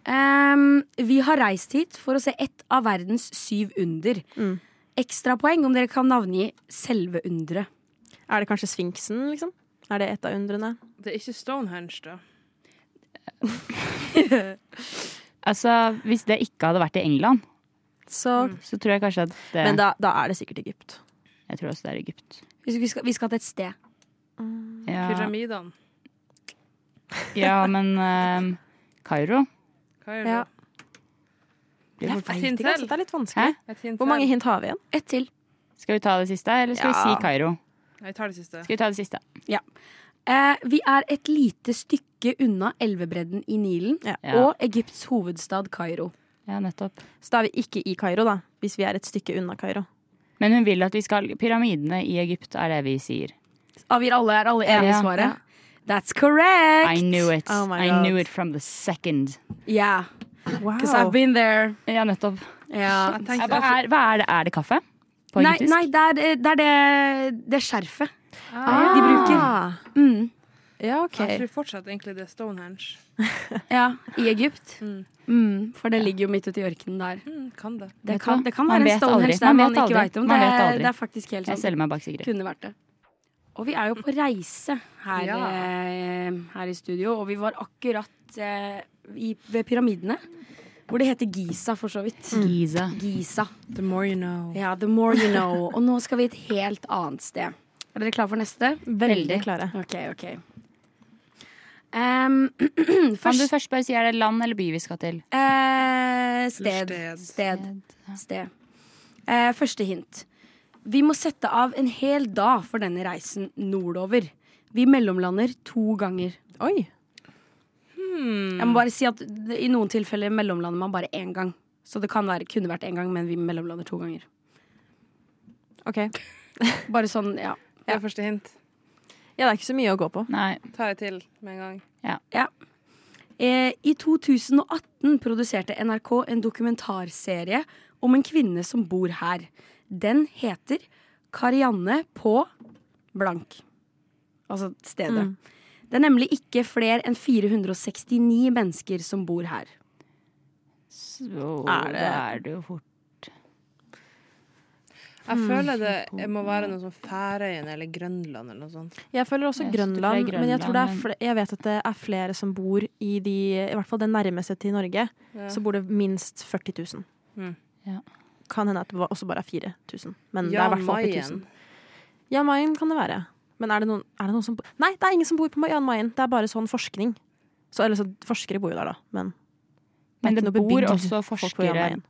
Speaker 1: Ehm, vi har reist hit for å se ett av verdens syv under.
Speaker 4: Mm.
Speaker 1: Ekstrapoeng om dere kan navngi selve underet.
Speaker 4: Er det kanskje Sfinksen, liksom? Er det et av undrene?
Speaker 2: Det er ikke Stonehenge, da.
Speaker 3: Altså, Hvis det ikke hadde vært i England,
Speaker 4: Så
Speaker 3: så tror jeg kanskje at det,
Speaker 4: Men da, da er det sikkert Egypt.
Speaker 3: Jeg tror også det er Egypt.
Speaker 1: Hvis Vi skal, vi skal til et sted.
Speaker 3: Ja,
Speaker 2: Pyramidene.
Speaker 3: ja men ehm, Kairo
Speaker 2: Hva er det?
Speaker 4: Ja.
Speaker 3: blir
Speaker 4: Jeg
Speaker 3: fort-
Speaker 4: vet
Speaker 2: hint
Speaker 4: ikke, altså.
Speaker 2: til.
Speaker 4: Det er litt vanskelig.
Speaker 2: Et hint
Speaker 4: Hvor mange
Speaker 2: til.
Speaker 4: hint har vi igjen?
Speaker 1: Ett til.
Speaker 3: Skal vi ta det siste, eller skal vi
Speaker 4: Ja.
Speaker 3: si Kairo?
Speaker 2: Nei, Jeg tar det siste.
Speaker 3: Skal vi ta det siste?
Speaker 1: Eh, vi er et lite stykke unna elvebredden i Nilen
Speaker 4: Ja.
Speaker 3: Ja.
Speaker 1: og Egypts hovedstad Kairo.
Speaker 3: Ja, nettopp.
Speaker 4: Så da er vi ikke i Kairo, da. Hvis vi er et stykke unna Kairo.
Speaker 3: Men hun vil at vi skal Pyramidene i Egypt er det vi sier.
Speaker 1: Avgir alle, er alle enige i
Speaker 3: Ja.
Speaker 1: svaret? That's correct!
Speaker 3: I knew it.
Speaker 4: Oh my
Speaker 3: I
Speaker 4: God.
Speaker 3: knew it from the second.
Speaker 1: Yeah,
Speaker 4: Wow.
Speaker 1: because I've been there.
Speaker 3: Ja, nettopp.
Speaker 1: Ja.
Speaker 3: Ja,
Speaker 2: Jeg
Speaker 3: Hva
Speaker 2: tenkte,
Speaker 3: er, hva er det? Er det kaffe? På
Speaker 1: Nei,
Speaker 3: egyptisk?
Speaker 1: nei, det er eh, det, er det, det skjerfet de bruker. Mm,
Speaker 4: Ja, OK.
Speaker 2: jeg tror fortsatt egentlig det er Stonehenge.
Speaker 1: ja, I Egypt.
Speaker 2: Mm.
Speaker 1: Mm, for det ligger jo midt ute i ørkenen der.
Speaker 2: Mm, kan det.
Speaker 1: Det
Speaker 3: Vet du
Speaker 1: kan,
Speaker 3: hva?
Speaker 1: det kan
Speaker 3: Man
Speaker 1: være en
Speaker 3: vet
Speaker 1: Stonehenge
Speaker 3: aldri.
Speaker 1: der
Speaker 3: Man
Speaker 1: man,
Speaker 3: vet
Speaker 1: ikke
Speaker 3: aldri.
Speaker 1: veit om.
Speaker 3: Man
Speaker 1: det,
Speaker 3: vet
Speaker 1: er-
Speaker 3: aldri.
Speaker 1: det er faktisk helt
Speaker 3: Jeg
Speaker 1: sånn.
Speaker 3: selger meg bak Sigrid.
Speaker 1: Kunne vært det. Og vi er jo på reise her,
Speaker 2: Ja.
Speaker 1: eh, her i studio, og vi var akkurat eh, i, ved pyramidene. Hvor det heter Giza, for så vidt.
Speaker 4: Mm.
Speaker 3: Giza.
Speaker 1: Giza.
Speaker 2: The more you know.
Speaker 1: Ja, the more you know. Og nå skal vi et helt annet sted. Er dere klare for neste?
Speaker 4: Veldig klare.
Speaker 1: OK, OK. Em,
Speaker 3: Kan du
Speaker 1: først
Speaker 3: først bare si er det land eller by vi skal til?
Speaker 1: eh, sted.
Speaker 2: Sted.
Speaker 1: Sted. sted. Eh, første hint. Vi må sette av en hel dag for denne reisen nordover. Vi mellomlander to ganger.
Speaker 4: Oi.
Speaker 1: Jeg må bare si at det- I noen tilfeller mellomlander man bare én gang. Så det kan være, kunne vært én gang, men vi mellomlander to ganger.
Speaker 4: OK. Ja,
Speaker 1: Bare sånn, ja.
Speaker 2: Det er første hint.
Speaker 4: det er ikke så mye å gå på.
Speaker 3: Nei.
Speaker 2: Tar jeg til med en gang.
Speaker 1: Eh, I 2018 produserte NRK en dokumentarserie om en kvinne som bor her. Den heter Karianne på blank. Altså stedet.
Speaker 4: Mm.
Speaker 1: Det er nemlig ikke flere enn 469 mennesker som bor her.
Speaker 3: Så
Speaker 4: Er det-
Speaker 3: da er det jo fort
Speaker 2: Jeg
Speaker 4: Mm.
Speaker 2: føler det jeg må være noe sånn Færøyene eller Grønland eller noe sånt.
Speaker 4: Jeg føler også
Speaker 3: Jeg synes det er
Speaker 4: Grønland, men jeg, tror det er
Speaker 3: Grønland,
Speaker 4: fle- jeg vet at det er flere som bor i de I hvert fall det nærmeste til Norge, så bor det minst 40 000.
Speaker 2: Mm.
Speaker 3: Ja.
Speaker 4: Kan hende at det var- også bare er 4000, men det er i
Speaker 2: Jan
Speaker 4: hvert fall oppi
Speaker 2: Mayen.
Speaker 4: 1000. Jan Mayen kan det være. Men er det noen, er det noen som bo- Nei, det er ingen som bor på Jan Mayen. Det er bare sånn forskning. Så, eller så forskere bor jo der, da. Men det
Speaker 3: Men
Speaker 4: er
Speaker 3: det
Speaker 4: ikke noe
Speaker 3: bor
Speaker 4: bebygd
Speaker 3: også
Speaker 4: folk på Jan
Speaker 3: forskere
Speaker 4: Mayen.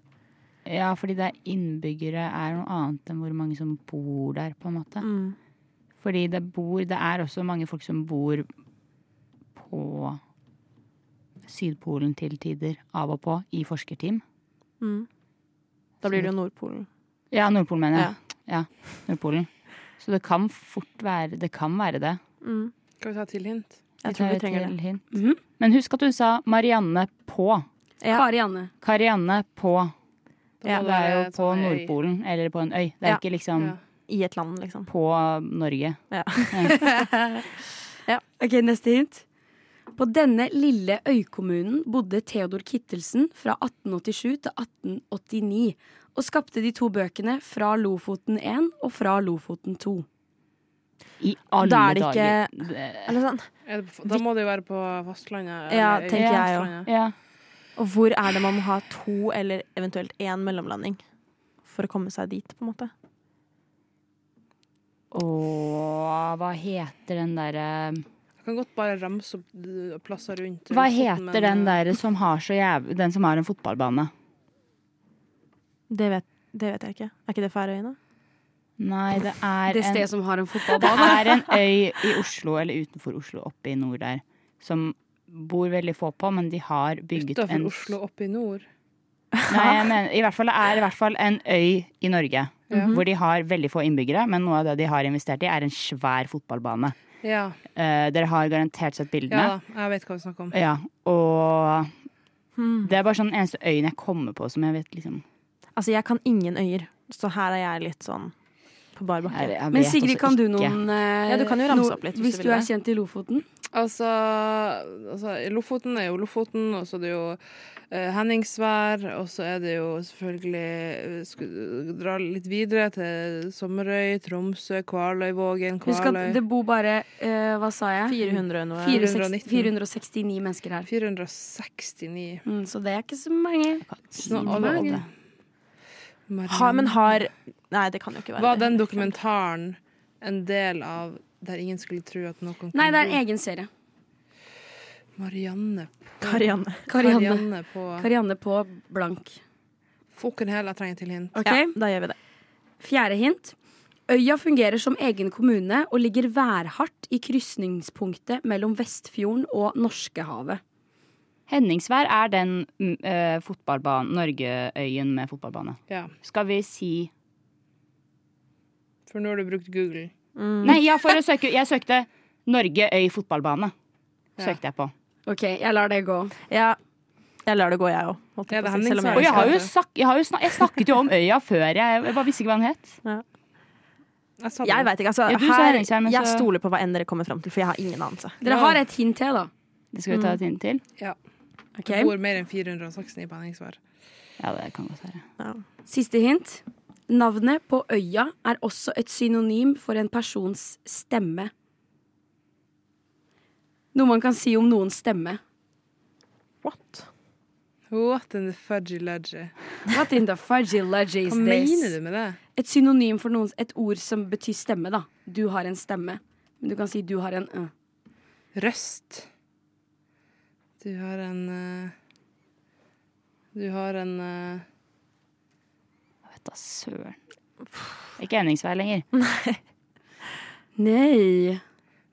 Speaker 3: Ja, fordi det er innbyggere er noe annet enn hvor mange som bor der, på en måte.
Speaker 4: Mm.
Speaker 3: Fordi det bor Det er også mange folk som bor på Sydpolen til tider, av og på, i forskerteam.
Speaker 4: Mm. Da blir det jo Nordpolen.
Speaker 3: Ja, Nordpolen mener jeg. Ja, Nordpolen. Så det kan fort være Det kan være det.
Speaker 4: Mm.
Speaker 2: Skal vi ta til hint?
Speaker 4: Jeg tror vi trenger det.
Speaker 3: Hint.
Speaker 1: Mhm.
Speaker 3: Men husk at du sa Marianne på.
Speaker 4: Ja.
Speaker 1: Karianne.
Speaker 3: Karianne på.
Speaker 2: Da
Speaker 4: Ja,
Speaker 2: må
Speaker 3: Det er jo
Speaker 2: være et
Speaker 3: på
Speaker 2: sånn øy.
Speaker 3: Nordpolen, eller på en øy. Det er
Speaker 4: Ja.
Speaker 3: ikke liksom
Speaker 2: Ja.
Speaker 4: I et land, liksom.
Speaker 3: på Norge.
Speaker 1: Ok, neste hint. På denne lille øykommunen bodde Theodor Kittelsen fra 1887 til 1889 og skapte de to bøkene Fra Lofoten 1 og Fra Lofoten 2.
Speaker 3: I alle
Speaker 4: Da er det
Speaker 3: dager.
Speaker 4: ikke-
Speaker 3: Det-
Speaker 4: Eller sånn.
Speaker 2: Er det på- Da må det jo være på fastlandet.
Speaker 4: Ja,
Speaker 2: eller øy-
Speaker 4: tenker jeg jo.
Speaker 2: fastlandet.
Speaker 3: Ja.
Speaker 4: Og hvor er det man må ha to eller eventuelt én mellomlanding for å komme seg dit, på en måte?
Speaker 3: Åh, hva heter den derre
Speaker 2: Jeg kan godt bare ramse opp eh, plasser rundt.
Speaker 3: Hva
Speaker 2: Lofoten,
Speaker 3: heter den
Speaker 2: men, eh,
Speaker 3: derre som har så jæv... Den som har en fotballbane?
Speaker 4: Det vet, det vet jeg ikke. Er ikke det Færøyene?
Speaker 3: Nei, det er
Speaker 1: Det
Speaker 3: en
Speaker 1: stedet som har en
Speaker 3: Det
Speaker 1: fotballbane.
Speaker 3: er en øy i Oslo, eller utenfor Oslo, oppe i nord der, som bor veldig få på, men de har bygget
Speaker 2: Utenfor
Speaker 3: en
Speaker 2: Oslo, oppe i nord.
Speaker 3: Nei, jeg mener, i hvert fall, det er i hvert fall en øy i Norge
Speaker 2: Mhm.
Speaker 3: hvor de har veldig få innbyggere, men noe av det de har investert i, er en svær fotballbane.
Speaker 2: Ja,
Speaker 3: Eh, dere har garantert sett
Speaker 2: ja
Speaker 3: bildene.
Speaker 2: da, jeg vet hva vi snakker om.
Speaker 3: Ja, og
Speaker 1: Hmm.
Speaker 3: det er bare sånn den eneste øyen jeg kommer på som jeg vet liksom
Speaker 4: Altså, jeg kan ingen øyer, så her er jeg litt sånn på bar
Speaker 3: jeg,
Speaker 4: bakke.
Speaker 3: jeg
Speaker 1: Men
Speaker 3: vet
Speaker 1: Sigrid,
Speaker 3: også
Speaker 1: kan du
Speaker 3: ikke.
Speaker 1: noen eh,
Speaker 4: Ja, du kan jo ramse
Speaker 1: noe-
Speaker 4: opp litt, hvis
Speaker 1: Hvis
Speaker 4: du
Speaker 1: du
Speaker 4: vil
Speaker 1: er
Speaker 4: det.
Speaker 1: kjent i Lofoten.
Speaker 2: Altså, altså Lofoten er jo Lofoten, og så er det jo eh, Henningsvær, og så er det jo selvfølgelig eh, sku- Dra litt videre til Sommerøy, Tromsø, Kvaløyvågen,
Speaker 1: Husk at
Speaker 2: Kvaløy
Speaker 1: det bor bare eh, Hva sa jeg?
Speaker 4: 400 noe.
Speaker 1: 460
Speaker 2: 419.
Speaker 1: 469 mennesker her.
Speaker 2: 469.
Speaker 1: Mm, så det er ikke så mange.
Speaker 2: Sånn alle-
Speaker 1: Mange.
Speaker 2: Marianne.
Speaker 4: Ha, men har Nei, det kan jo ikke være
Speaker 2: Var den
Speaker 4: det.
Speaker 2: dokumentaren en del av der ingen skulle tro at noen kunne
Speaker 1: Nei, det er en egen serie.
Speaker 2: Marianne.
Speaker 4: Karianne.
Speaker 1: Karianne,
Speaker 2: Marianne på
Speaker 1: Karianne på blank.
Speaker 2: Fucken hell, jeg trenger til hint.
Speaker 1: Ok?
Speaker 4: Ja, da gjør vi det.
Speaker 1: Fjerde hint. Øya fungerer som egen kommune og ligger værhardt i krysningspunktet mellom Vestfjorden og Norskehavet.
Speaker 3: Henningsvær er den mm, eh, fotballbanen, Norgeøyen med fotballbane.
Speaker 2: Ja,
Speaker 3: Skal vi si
Speaker 2: for nå har du brukt Google.
Speaker 1: Hmm.
Speaker 3: Nei, ja, for å søke Jeg søkte Norgeøy fotballbane. Søkte jeg på.
Speaker 1: OK, jeg lar det gå.
Speaker 4: Ja, jeg lar det gå, jeg òg. holdt jeg
Speaker 2: Ja, det
Speaker 4: på å si, selv om
Speaker 2: Henningsvær.
Speaker 3: Og jeg, har jo
Speaker 2: skjønte.
Speaker 3: snak, jeg, har jo snak, jeg snakket jo om øya før. Jeg, jeg bare visste ikke hva den het.
Speaker 2: Jeg sa
Speaker 4: Jeg
Speaker 2: det.
Speaker 4: veit ikke. Altså,
Speaker 3: Ja, du sa
Speaker 4: her,
Speaker 3: Henningsvær, men
Speaker 4: jeg
Speaker 3: så-
Speaker 4: stoler på hva enn dere kommer fram til, for jeg har ingen anelse.
Speaker 1: Dere har et hint til, da.
Speaker 3: Det skal vi
Speaker 1: Hmm.
Speaker 3: ta et hint til.
Speaker 1: Ok?
Speaker 2: Det bor mer enn 469 på Henningsvær.
Speaker 3: Ja, det kan godt være.
Speaker 1: Siste hint. Navnet på øya er også et synonym for en persons stemme. Noe man kan si om noens stemme.
Speaker 4: What?
Speaker 2: What in the fudgy ludgy?
Speaker 1: What in the fudgy-ludgy
Speaker 2: Hva
Speaker 1: is
Speaker 2: mener
Speaker 1: this?
Speaker 2: du med det?
Speaker 1: Et synonym for noens, et ord som betyr stemme, da. Du har en stemme. Men du kan si du har en ø.
Speaker 2: Røst. Du har en eh, Du har en eh,
Speaker 3: Jeg vet da søren. Ikke Henningsvær lenger.
Speaker 1: Nei.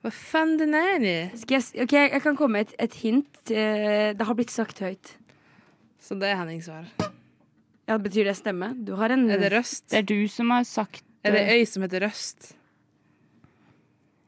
Speaker 2: Hva faen den er det?
Speaker 1: Skal jeg, s- ok, jeg kan komme med et, et hint. Eh, Det har blitt sagt høyt.
Speaker 2: Så det er Henningsvær.
Speaker 1: Ja, Betyr det stemme? Du har en
Speaker 2: Er det Røst?
Speaker 3: Det er du som har sagt
Speaker 2: Er det øy som heter Røst?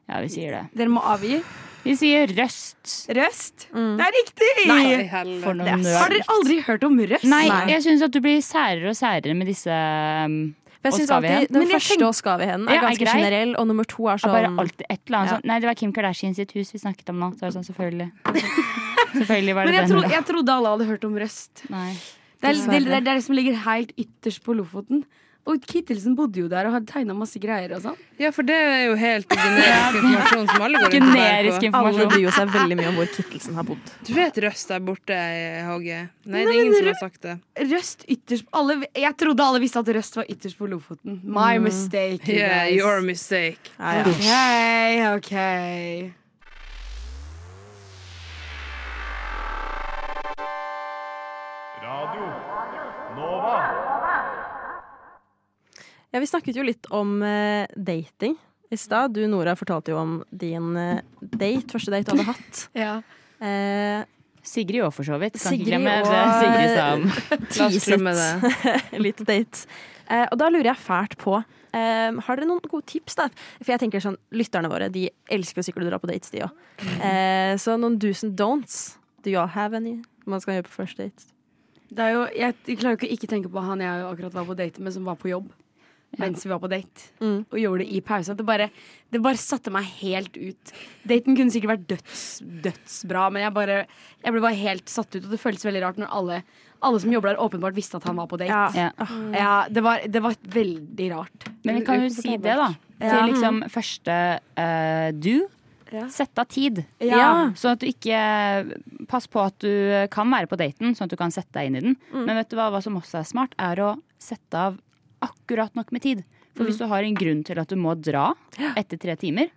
Speaker 3: Ja, vi sier det.
Speaker 1: Dere må avgi.
Speaker 3: Vi sier Røst.
Speaker 1: Røst.
Speaker 2: Mm.
Speaker 1: Det er riktig!
Speaker 2: Nei,
Speaker 3: For
Speaker 2: helvete.
Speaker 3: noen
Speaker 1: Har
Speaker 3: nerd.
Speaker 1: dere aldri hørt om røst?
Speaker 3: Nei,
Speaker 4: Nei.
Speaker 3: jeg syns at du blir særere og særere med disse um,
Speaker 4: For
Speaker 3: Og
Speaker 4: jeg synes
Speaker 3: skal vi hen?
Speaker 4: alltid Den
Speaker 3: Men jeg
Speaker 4: første
Speaker 3: tenk-
Speaker 4: og skal vi
Speaker 3: Ja,
Speaker 4: hen er
Speaker 3: er
Speaker 4: ganske
Speaker 3: grei.
Speaker 4: generell, og nummer to er
Speaker 3: Ja,
Speaker 4: sånn
Speaker 3: bare alltid et eller annet
Speaker 4: Ja.
Speaker 3: sånt. Nei, det var Kim Kardashian sitt hus vi snakket om nå. Så er det sånn, selvfølgelig. selvfølgelig var
Speaker 1: Men
Speaker 3: det
Speaker 1: jeg,
Speaker 3: den.
Speaker 1: tro, jeg trodde alle hadde hørt om Røst.
Speaker 3: Nei.
Speaker 1: Det er det, det, er det som ligger helt ytterst på Lofoten. Og Kittelsen bodde jo der og hadde tegna masse greier og sånn.
Speaker 2: Ja, for det er jo helt generisk informasjon som alle går rundt og bærer
Speaker 3: Generisk
Speaker 2: på.
Speaker 4: Alle
Speaker 3: informasjon.
Speaker 4: bryr seg veldig mye om hvor Kittelsen har bodd.
Speaker 2: Du vet Røst der borte, Hage? Nei, det er ingen som har sagt det.
Speaker 1: Røst ytterst alle, Jeg trodde alle visste at Røst var ytterst på Lofoten. My mistake. you
Speaker 2: Yeah,
Speaker 1: guys.
Speaker 2: your mistake.
Speaker 4: Ja, ja.
Speaker 1: Ok, ok.
Speaker 7: Radio Nova.
Speaker 4: Ja, vi snakket jo litt om eh, dating i stad. Du, Nora, fortalte jo om din eh, date, første date du hadde hatt.
Speaker 1: Ja.
Speaker 4: Eh,
Speaker 3: Sigrid òg, for så vidt. Kan
Speaker 4: Sigrid
Speaker 3: ikke glemme
Speaker 4: og-
Speaker 3: det Sigrid sa om
Speaker 2: La oss glemme det.
Speaker 4: Litt date. Eh, og da lurer jeg fælt på eh, Har dere noen gode tips? da? For jeg tenker sånn, Lytterne våre de elsker jo sikkert å dra på dates, de òg. Eh, så noen do's and don'ts. Do you all have any man skal gjøre på første date?
Speaker 1: Det er jo, jeg, jeg klarer jo ikke å ikke tenke på han jeg akkurat var på date med, som var på jobb. Mens vi var på date.
Speaker 4: Mm.
Speaker 1: Og gjorde det i pause. At Det bare, det bare satte meg helt ut. Daten kunne sikkert vært døds, dødsbra, men jeg, bare, jeg ble bare helt satt ut. Og det føltes veldig rart når alle, alle som jobber der, åpenbart visste at han var på date.
Speaker 3: ja.
Speaker 1: Ja, det, var, det var veldig rart.
Speaker 3: Men vi kan jo si det, da. Til liksom første eh, du.
Speaker 1: Ja.
Speaker 3: Sett av tid.
Speaker 1: Ja.
Speaker 3: Sånn at du ikke Pass på at du kan være på daten, sånn at du kan
Speaker 1: Mm.
Speaker 3: sette deg inn i den. Men vet du hva, hva som også er smart, er å sette av akkurat nok med tid.
Speaker 1: Mm.
Speaker 3: For hvis du har en grunn til at du må dra etter tre timer,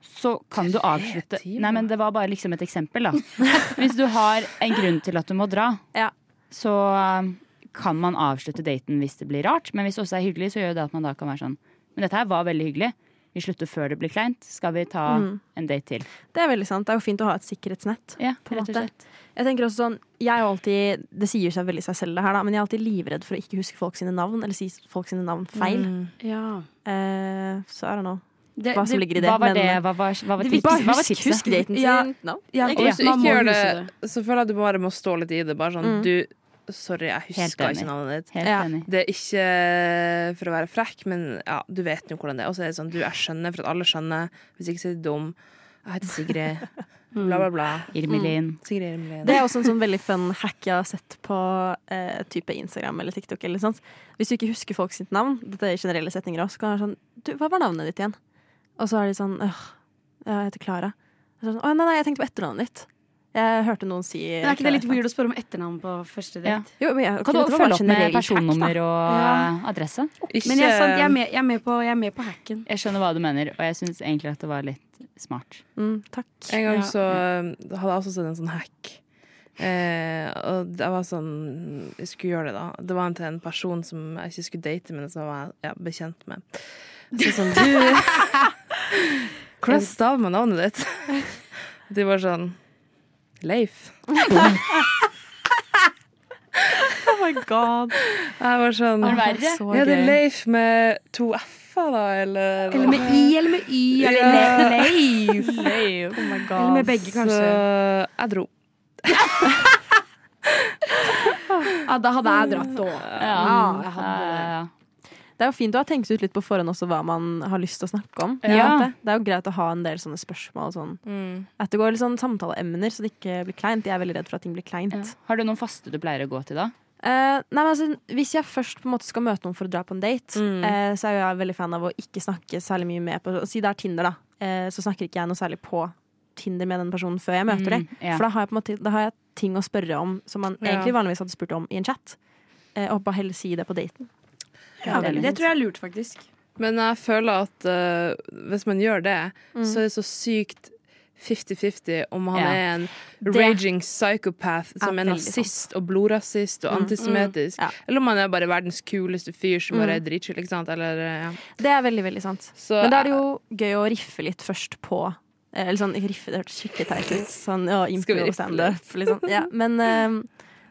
Speaker 3: så kan du avslutte
Speaker 2: timer?
Speaker 3: Nei, men det var bare liksom et eksempel, da. Hvis du har en grunn til at du må dra,
Speaker 4: Ja.
Speaker 3: så um, kan man avslutte daten hvis det blir rart. Men hvis det også er hyggelig, så gjør jo det at man da kan være sånn Men dette her var veldig hyggelig. Vi slutter før det blir kleint. Skal vi ta en date til?
Speaker 4: Det er veldig sant. Det er jo fint å ha et sikkerhetsnett.
Speaker 3: Ja,
Speaker 4: på en
Speaker 3: rett og
Speaker 4: måte.
Speaker 3: slett.
Speaker 4: Jeg tenker også sånn, jeg er jo alltid, Det sier seg veldig seg selv, det her da men jeg er alltid livredd for å ikke huske folk sine navn, eller si folk sine navn feil.
Speaker 1: Ja.
Speaker 4: Eh, så er det nå
Speaker 1: Det,
Speaker 4: hva som ligger i det.
Speaker 3: Hva var
Speaker 4: men,
Speaker 3: det? Hva var, hva var
Speaker 1: Det
Speaker 3: tipset?
Speaker 1: viktigste-
Speaker 3: Hva var
Speaker 4: Husk,
Speaker 3: tipset?
Speaker 4: husk daten sin.
Speaker 1: Ja.
Speaker 4: navn.
Speaker 1: Ja,
Speaker 2: Og hvis du
Speaker 1: man
Speaker 2: ikke
Speaker 1: må
Speaker 2: gjør det,
Speaker 1: huske
Speaker 2: så føler jeg at du bare må stå litt i det. Bare sånn,
Speaker 4: Mm.
Speaker 2: du, sorry, jeg
Speaker 3: Helt
Speaker 2: husker
Speaker 3: enig.
Speaker 2: ikke navnet ditt.
Speaker 3: Helt
Speaker 4: Ja.
Speaker 3: enig.
Speaker 2: Det er ikke for å være frekk, men ja, du vet jo hvordan det er. Og så er det sånn, du, jeg skjønner, for at alle skjønner. Hvis ikke så er du dum. Jeg heter Sigrid. Bla, bla, bla.
Speaker 1: Mm.
Speaker 3: Irmelin.
Speaker 2: Sigrid Irmelin.
Speaker 4: Det er også en sånn veldig fun hack jeg har sett på eh, type Instagram eller TikTok. eller sånt. Hvis du ikke husker folk sitt navn, dette er i generelle setninger også, så kan det være sånn du, 'Hva var navnet ditt igjen?' Og så er de sånn «Åh, jeg heter Klara'. Og så er det Sånn, 'Å nei, nei, jeg tenkte på etternavnet ditt'. Jeg hørte noen si
Speaker 1: Men er ikke det litt
Speaker 4: Klara.
Speaker 1: weird å spørre om etternavn på første date?
Speaker 3: Ja.
Speaker 4: Jo, men jeg,
Speaker 3: Kan du
Speaker 4: dette var bare
Speaker 3: følge
Speaker 4: sånn
Speaker 3: opp med
Speaker 4: generell hack, da.
Speaker 3: personnummer og
Speaker 1: Ja.
Speaker 3: eh, adresse?
Speaker 2: Ikke-
Speaker 1: Men jeg, er sant, jeg, er med, jeg, er med på, jeg er med på hacken.
Speaker 3: Jeg skjønner hva du mener, og jeg syns egentlig at det var litt smart.
Speaker 4: Mm, takk.
Speaker 2: En
Speaker 1: Ja.
Speaker 2: gang så um, hadde jeg også sett en sånn hack. Eh, og jeg var sånn Jeg skulle gjøre det, da. Det var en til en person som jeg ikke skulle date, men som jeg var ja, bekjent med. Så sånn Du Hvordan staver man navnet ditt? De var sånn Leif.
Speaker 4: Oh my god.
Speaker 2: Jeg var sånn
Speaker 3: Er det verre?
Speaker 1: Ah,
Speaker 2: Ja, det er Leif med to f-er, da, eller
Speaker 1: Eller med i eller med y. Eller
Speaker 2: Ja.
Speaker 1: med,
Speaker 3: Leif.
Speaker 4: Oh my
Speaker 1: eller
Speaker 4: god.
Speaker 1: med begge,
Speaker 2: Så
Speaker 1: kanskje.
Speaker 2: Altså, jeg dro.
Speaker 1: Ja, da hadde jeg dratt òg. Ja,
Speaker 3: Ja,
Speaker 1: jeg
Speaker 3: Mm. ja,
Speaker 1: hadde
Speaker 3: ja.
Speaker 4: Det er jo fint å ha tenkt ut litt på forhånd også hva man har lyst til å snakke om. på en
Speaker 3: Ja.
Speaker 4: måte. Det er jo greit å ha en del sånne spørsmål. Sånn.
Speaker 3: Mm.
Speaker 4: At det går litt sånn samtaleemner, så det ikke blir kleint. Jeg er veldig redd for at ting blir kleint.
Speaker 3: Ja. Har du noen faste du pleier å gå til da?
Speaker 4: Eh, nei, men altså, hvis jeg først på en måte skal møte noen for å dra på en date,
Speaker 3: Mm.
Speaker 4: eh, så er jo jeg veldig fan av å ikke snakke særlig mye med på Si det er Tinder, da. Eh, så snakker ikke jeg noe særlig på Tinder med den personen før jeg
Speaker 3: Mm,
Speaker 4: møter dem.
Speaker 3: ja.
Speaker 4: For da har, jeg på en måte, da har jeg ting å spørre om som man
Speaker 2: Ja.
Speaker 4: egentlig vanligvis hadde spurt om i en chat. Eh, og bare heller si det på daten.
Speaker 1: Ja, det tror jeg er lurt, faktisk.
Speaker 2: Men jeg føler at eh, hvis man gjør det,
Speaker 1: Mm.
Speaker 2: så er det så sykt 50-50 om han
Speaker 3: Ja.
Speaker 2: er en raging psychopath som
Speaker 4: Ja,
Speaker 2: er
Speaker 4: veldig
Speaker 2: nazist og blodrasist og
Speaker 1: Mm.
Speaker 2: antisemittisk, eller om han er bare verdens kuleste fyr som bare er
Speaker 1: Mm.
Speaker 2: dritchill, ikke sant? Eller, eh, ja.
Speaker 4: Det er veldig, veldig sant.
Speaker 2: Så
Speaker 4: Men da er det jo gøy å riffe litt først på eh, Eller sånn, ikke riffe, det hørtes skikkelig teit ut. Sånn, ja,
Speaker 2: Skal vi
Speaker 4: impro
Speaker 2: riffe
Speaker 4: og standup, liksom. Ja, men eh,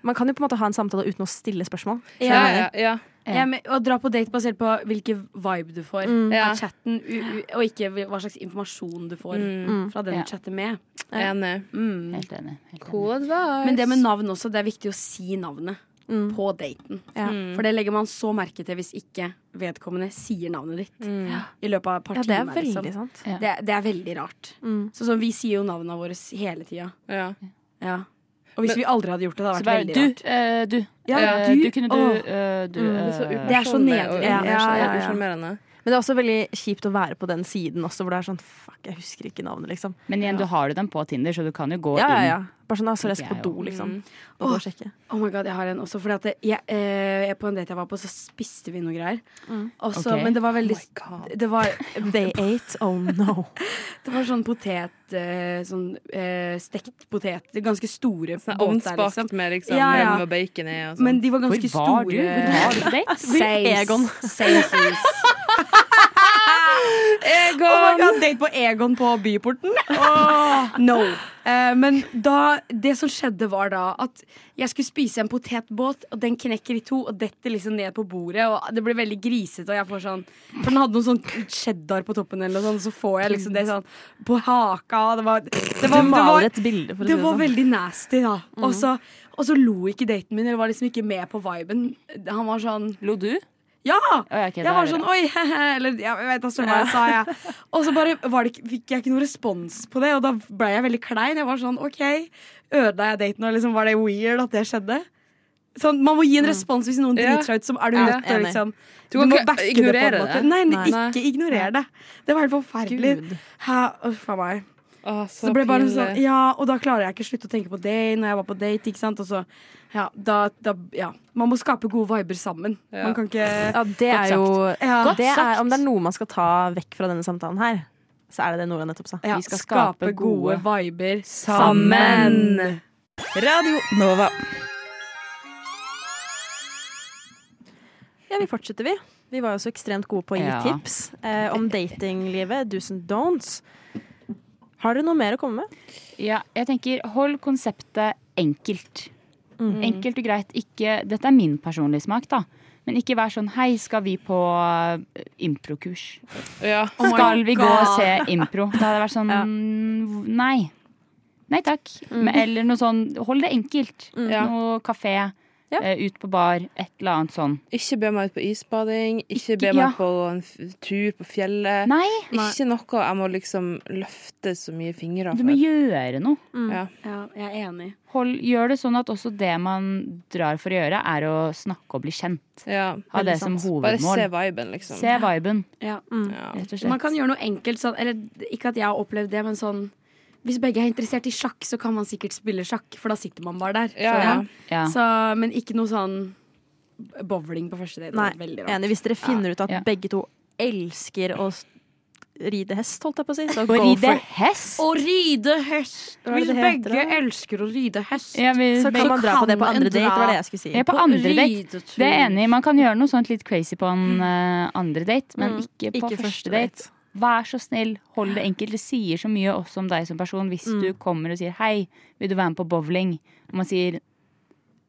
Speaker 4: man kan jo på en måte ha en samtale uten å stille spørsmål.
Speaker 2: jeg- ja, ja, ja.
Speaker 3: Ja.
Speaker 1: Jeg er med, å dra på date basert på hvilke vibe du får
Speaker 4: Mm.
Speaker 2: Ja.
Speaker 1: av chatten, u, u, og ikke hva slags informasjon du får
Speaker 4: Mm.
Speaker 1: fra den
Speaker 3: Ja.
Speaker 1: du chatter med.
Speaker 2: Enig.
Speaker 1: Mm.
Speaker 3: Helt enig. Helt enig.
Speaker 2: Cool advice.
Speaker 1: Men det med navn også, det er viktig å si navnet
Speaker 4: Mm.
Speaker 1: på daten. Mm.
Speaker 4: Ja.
Speaker 1: For det legger man så merke til hvis ikke vedkommende sier navnet ditt i løpet av et par
Speaker 4: Mm. Ja, det er
Speaker 1: timer.
Speaker 4: veldig
Speaker 1: liksom.
Speaker 4: sant.
Speaker 3: Ja.
Speaker 1: det, det er veldig rart.
Speaker 4: Mm.
Speaker 1: Sånn som vi sier jo navnene våre s- hele tida.
Speaker 2: ja.
Speaker 1: Ja. Og hvis vi
Speaker 2: Men-
Speaker 1: aldri hadde gjort det, det
Speaker 3: Så
Speaker 1: hadde
Speaker 3: bare
Speaker 1: vært
Speaker 3: du,
Speaker 1: veldig rart.
Speaker 3: eh, du.
Speaker 1: Ja,
Speaker 3: Eh,
Speaker 1: du-
Speaker 3: du kunne du,
Speaker 1: Åh.
Speaker 3: eh, du
Speaker 4: Mm,
Speaker 3: eh,
Speaker 2: Det er så
Speaker 1: Det er så
Speaker 2: upersonlig
Speaker 1: nedrig.
Speaker 2: og
Speaker 1: Ja,
Speaker 4: ja, ja, ja.
Speaker 2: usjarmerende.
Speaker 4: Men det er også veldig kjipt å være på den siden også, hvor det er sånn fuck, jeg husker ikke navnet, liksom.
Speaker 3: Men igjen, du har jo dem på Tinder, så du kan jo gå
Speaker 4: Ja, ja, ja.
Speaker 3: inn.
Speaker 4: Bare sånn, altså,
Speaker 3: Tenker
Speaker 4: jeg skal
Speaker 3: jeg
Speaker 4: på do,
Speaker 3: jo.
Speaker 4: liksom. Og gå og sjekke.
Speaker 1: Oh my god, jeg har en også. Fordi at det- jeg, eh, jeg- på en date jeg var på, så spiste vi noe greier. Og så-
Speaker 3: Ok.
Speaker 1: Men det var veldig
Speaker 2: Mm. Oh God.
Speaker 1: det var,
Speaker 4: They ate, oh no.
Speaker 1: det var sånn potet eh, Sånn eh, stekt potet. Ganske store båter,
Speaker 2: Sånn ovnsbakt
Speaker 1: liksom.
Speaker 2: med liksom
Speaker 1: Ja, ja.
Speaker 2: rømme og bacon i og sånn.
Speaker 1: Men de var
Speaker 3: Hvor
Speaker 1: ganske
Speaker 3: var du? Hvor
Speaker 1: store.
Speaker 3: var du på date?
Speaker 4: Egon.
Speaker 1: Seis.
Speaker 2: Egon!
Speaker 1: Oh
Speaker 4: Sånn.
Speaker 1: my god, date på Egon på Byporten? No. Eh, men da, det som skjedde, var da at jeg skulle spise en potetbåt, og den knekker i to og detter liksom ned på bordet. Og det blir veldig grisete, og jeg får sånn For den hadde noe sånn cheddar på toppen, eller noe sånt, og så får jeg liksom det sånn på haka. og Det var, det var,
Speaker 4: Du
Speaker 1: det var,
Speaker 4: maler et bilde, for å si
Speaker 1: det
Speaker 4: det
Speaker 1: var
Speaker 4: sånn. Mhm.
Speaker 1: veldig nasty, da. Og så, og så lo ikke daten min, eller var liksom ikke med på viben. Han var sånn
Speaker 3: Lo du?
Speaker 1: Ja!
Speaker 3: Å, ja, ok, da
Speaker 1: Jeg var
Speaker 3: er det
Speaker 1: sånn
Speaker 3: bra.
Speaker 1: oi, hehe, eller ja, jeg vet ikke hva jeg sa. Jeg. Og så bare var det, ikke- fikk jeg ikke noe respons på det, og da ble jeg veldig klein. Jeg var sånn OK, ødela jeg daten, og liksom, var det weird at det skjedde? Sånn, man må gi en respons hvis noen
Speaker 2: Ja.
Speaker 1: driter seg ut. Som er du
Speaker 4: Ja,
Speaker 1: nødt til å
Speaker 4: enig.
Speaker 1: liksom
Speaker 2: Du kan
Speaker 1: må
Speaker 2: ikke
Speaker 1: backe det på en
Speaker 2: ignorere
Speaker 1: måte.
Speaker 2: det.
Speaker 1: Nei,
Speaker 4: Nei.
Speaker 1: ikke ignorer det. Det var helt forferdelig.
Speaker 4: Gud.
Speaker 1: Hæ, uff a meg.
Speaker 2: Å,
Speaker 1: Så det ble bare
Speaker 2: eh.
Speaker 1: sånn, ja, og da klarer jeg ikke å slutte å tenke på det når jeg var på date. ikke sant? Og så, ja, da, da, ja. Man må skape gode viber sammen.
Speaker 2: Ja.
Speaker 1: Man kan ikke
Speaker 4: Ja, det
Speaker 1: Godt
Speaker 4: er jo
Speaker 1: ja,
Speaker 3: Godt
Speaker 4: det er,
Speaker 3: sagt.
Speaker 4: Om det er noe man skal ta vekk fra denne samtalen her, så er det det Nora nettopp sa.
Speaker 1: ja,
Speaker 3: vi skal
Speaker 1: skape
Speaker 3: skape
Speaker 1: gode viber
Speaker 3: sammen.
Speaker 8: Radio Nova.
Speaker 4: Ja, vi fortsetter, vi. Vi var jo så ekstremt gode på å gi
Speaker 3: Ja.
Speaker 4: tips eh, om datinglivet. Do's and don'ts. Har dere noe mer å komme med?
Speaker 3: Ja, jeg tenker hold konseptet enkelt.
Speaker 1: Mm.
Speaker 3: Enkelt og greit. Ikke, dette er min personlige smak, da. Men ikke vær sånn hei, skal vi på eh, improkurs?
Speaker 2: Ja.
Speaker 1: Oh
Speaker 3: skal vi gå og se impro? Da hadde jeg vært sånn nei. Nei takk. Men, eller noe sånn hold det enkelt.
Speaker 2: Ja.
Speaker 3: Noe kafé,
Speaker 4: Ja.
Speaker 3: eh, ut på bar, et eller annet sånn.
Speaker 2: Ikke be meg ut på isbading. Ikke
Speaker 3: Ikke-
Speaker 2: be meg
Speaker 3: ja.
Speaker 2: på en f- tur på fjellet.
Speaker 3: Nei,
Speaker 2: Ikke noe jeg må liksom løfte så mye fingre
Speaker 3: du må
Speaker 2: for.
Speaker 3: gjøre noe.
Speaker 2: Ja.
Speaker 1: Ja, jeg er enig.
Speaker 3: Hold, gjør det sånn at også det man drar for å gjøre, er å snakke og bli kjent.
Speaker 2: Ja.
Speaker 3: Ha det som
Speaker 2: Bare se
Speaker 3: hovedmål.
Speaker 2: viben, liksom.
Speaker 3: Se viben,
Speaker 1: Ja.
Speaker 2: Ja.
Speaker 3: rett og slett.
Speaker 1: Man kan gjøre noe enkelt sånn, eller ikke at jeg har opplevd det, men sånn hvis begge er interessert i sjakk, så kan man sikkert spille sjakk, for da sitter man bare der.
Speaker 2: Ja,
Speaker 1: så,
Speaker 2: ja.
Speaker 3: Ja.
Speaker 1: Så, men ikke noe sånn bowling på første date. Det
Speaker 4: Nei,
Speaker 1: hadde vært veldig rart.
Speaker 4: enig. Hvis dere finner ut at
Speaker 3: Ja.
Speaker 4: begge to elsker å s- ride hest, holdt jeg på å si, så
Speaker 3: Å
Speaker 4: go
Speaker 3: ride
Speaker 4: for it.
Speaker 3: hest?
Speaker 1: Å ride hest!
Speaker 4: Hva er det
Speaker 1: Hvis
Speaker 4: det heter,
Speaker 1: begge
Speaker 4: da?
Speaker 1: elsker å ride hest
Speaker 3: Ja, vi,
Speaker 4: Så kan
Speaker 1: Så
Speaker 4: man dra på det på
Speaker 1: kan
Speaker 4: andre
Speaker 1: en
Speaker 4: date,
Speaker 1: dra-
Speaker 4: var det jeg skulle si.
Speaker 3: ja, på
Speaker 1: på
Speaker 3: andre date.
Speaker 1: ridetur.
Speaker 3: Det er jeg enig i. Man kan gjøre noe sånt litt crazy på en eh, andre date, men
Speaker 4: Mm,
Speaker 3: ikke på første date. Vær så snill, hold det enkelt. Det sier så mye også om deg som person. Hvis du kommer og sier 'hei, vil du være med på bowling', og man sier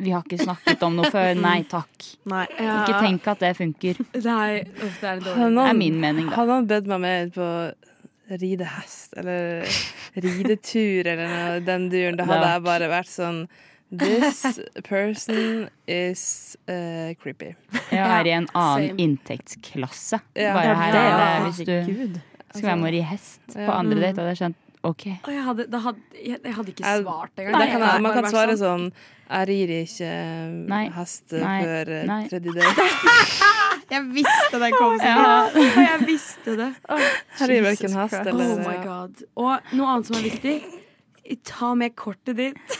Speaker 3: 'vi har ikke snakket om noe før', nei takk.
Speaker 4: Nei.
Speaker 1: Ja.
Speaker 3: Ikke tenk at det funker.
Speaker 1: Nei, uff, det er en
Speaker 2: Hadde
Speaker 1: dårlig
Speaker 3: Det
Speaker 2: noen-
Speaker 3: er min mening, da.
Speaker 2: Hadde han bedt meg med ut på ridehest eller ridetur eller noe, den duren, da
Speaker 3: Det
Speaker 2: hadde
Speaker 3: var-
Speaker 2: jeg bare vært sånn This person is eh, creepy.
Speaker 3: Jeg er i en annen
Speaker 1: same.
Speaker 3: inntektsklasse.
Speaker 2: Ja.
Speaker 3: Bare her
Speaker 4: Det,
Speaker 3: er
Speaker 4: ja.
Speaker 3: det hvis du
Speaker 4: Herregud.
Speaker 3: skulle være med å ri hest på
Speaker 2: Ja.
Speaker 3: andre date, hadde jeg skjønt OK.
Speaker 1: Å, jeg, hadde, da hadde, jeg, jeg hadde ikke
Speaker 2: Jeg-
Speaker 1: svart engang.
Speaker 2: Der
Speaker 1: Jeg
Speaker 2: kan
Speaker 1: hadde
Speaker 2: jeg, man
Speaker 1: bare
Speaker 2: kan
Speaker 1: vært
Speaker 2: svare
Speaker 1: sånn,
Speaker 2: sånn Jeg rir ikke
Speaker 3: Nei.
Speaker 2: eh, hest
Speaker 3: Nei.
Speaker 2: før eh,
Speaker 3: Nei.
Speaker 2: tredje date.
Speaker 1: Jeg visste den kom sånn.
Speaker 3: Ja.
Speaker 1: Jeg visste det.
Speaker 2: Jeg rir verken hest eller eh,
Speaker 1: Oh my god. Og noe annet som er viktig. Ta med kortet ditt.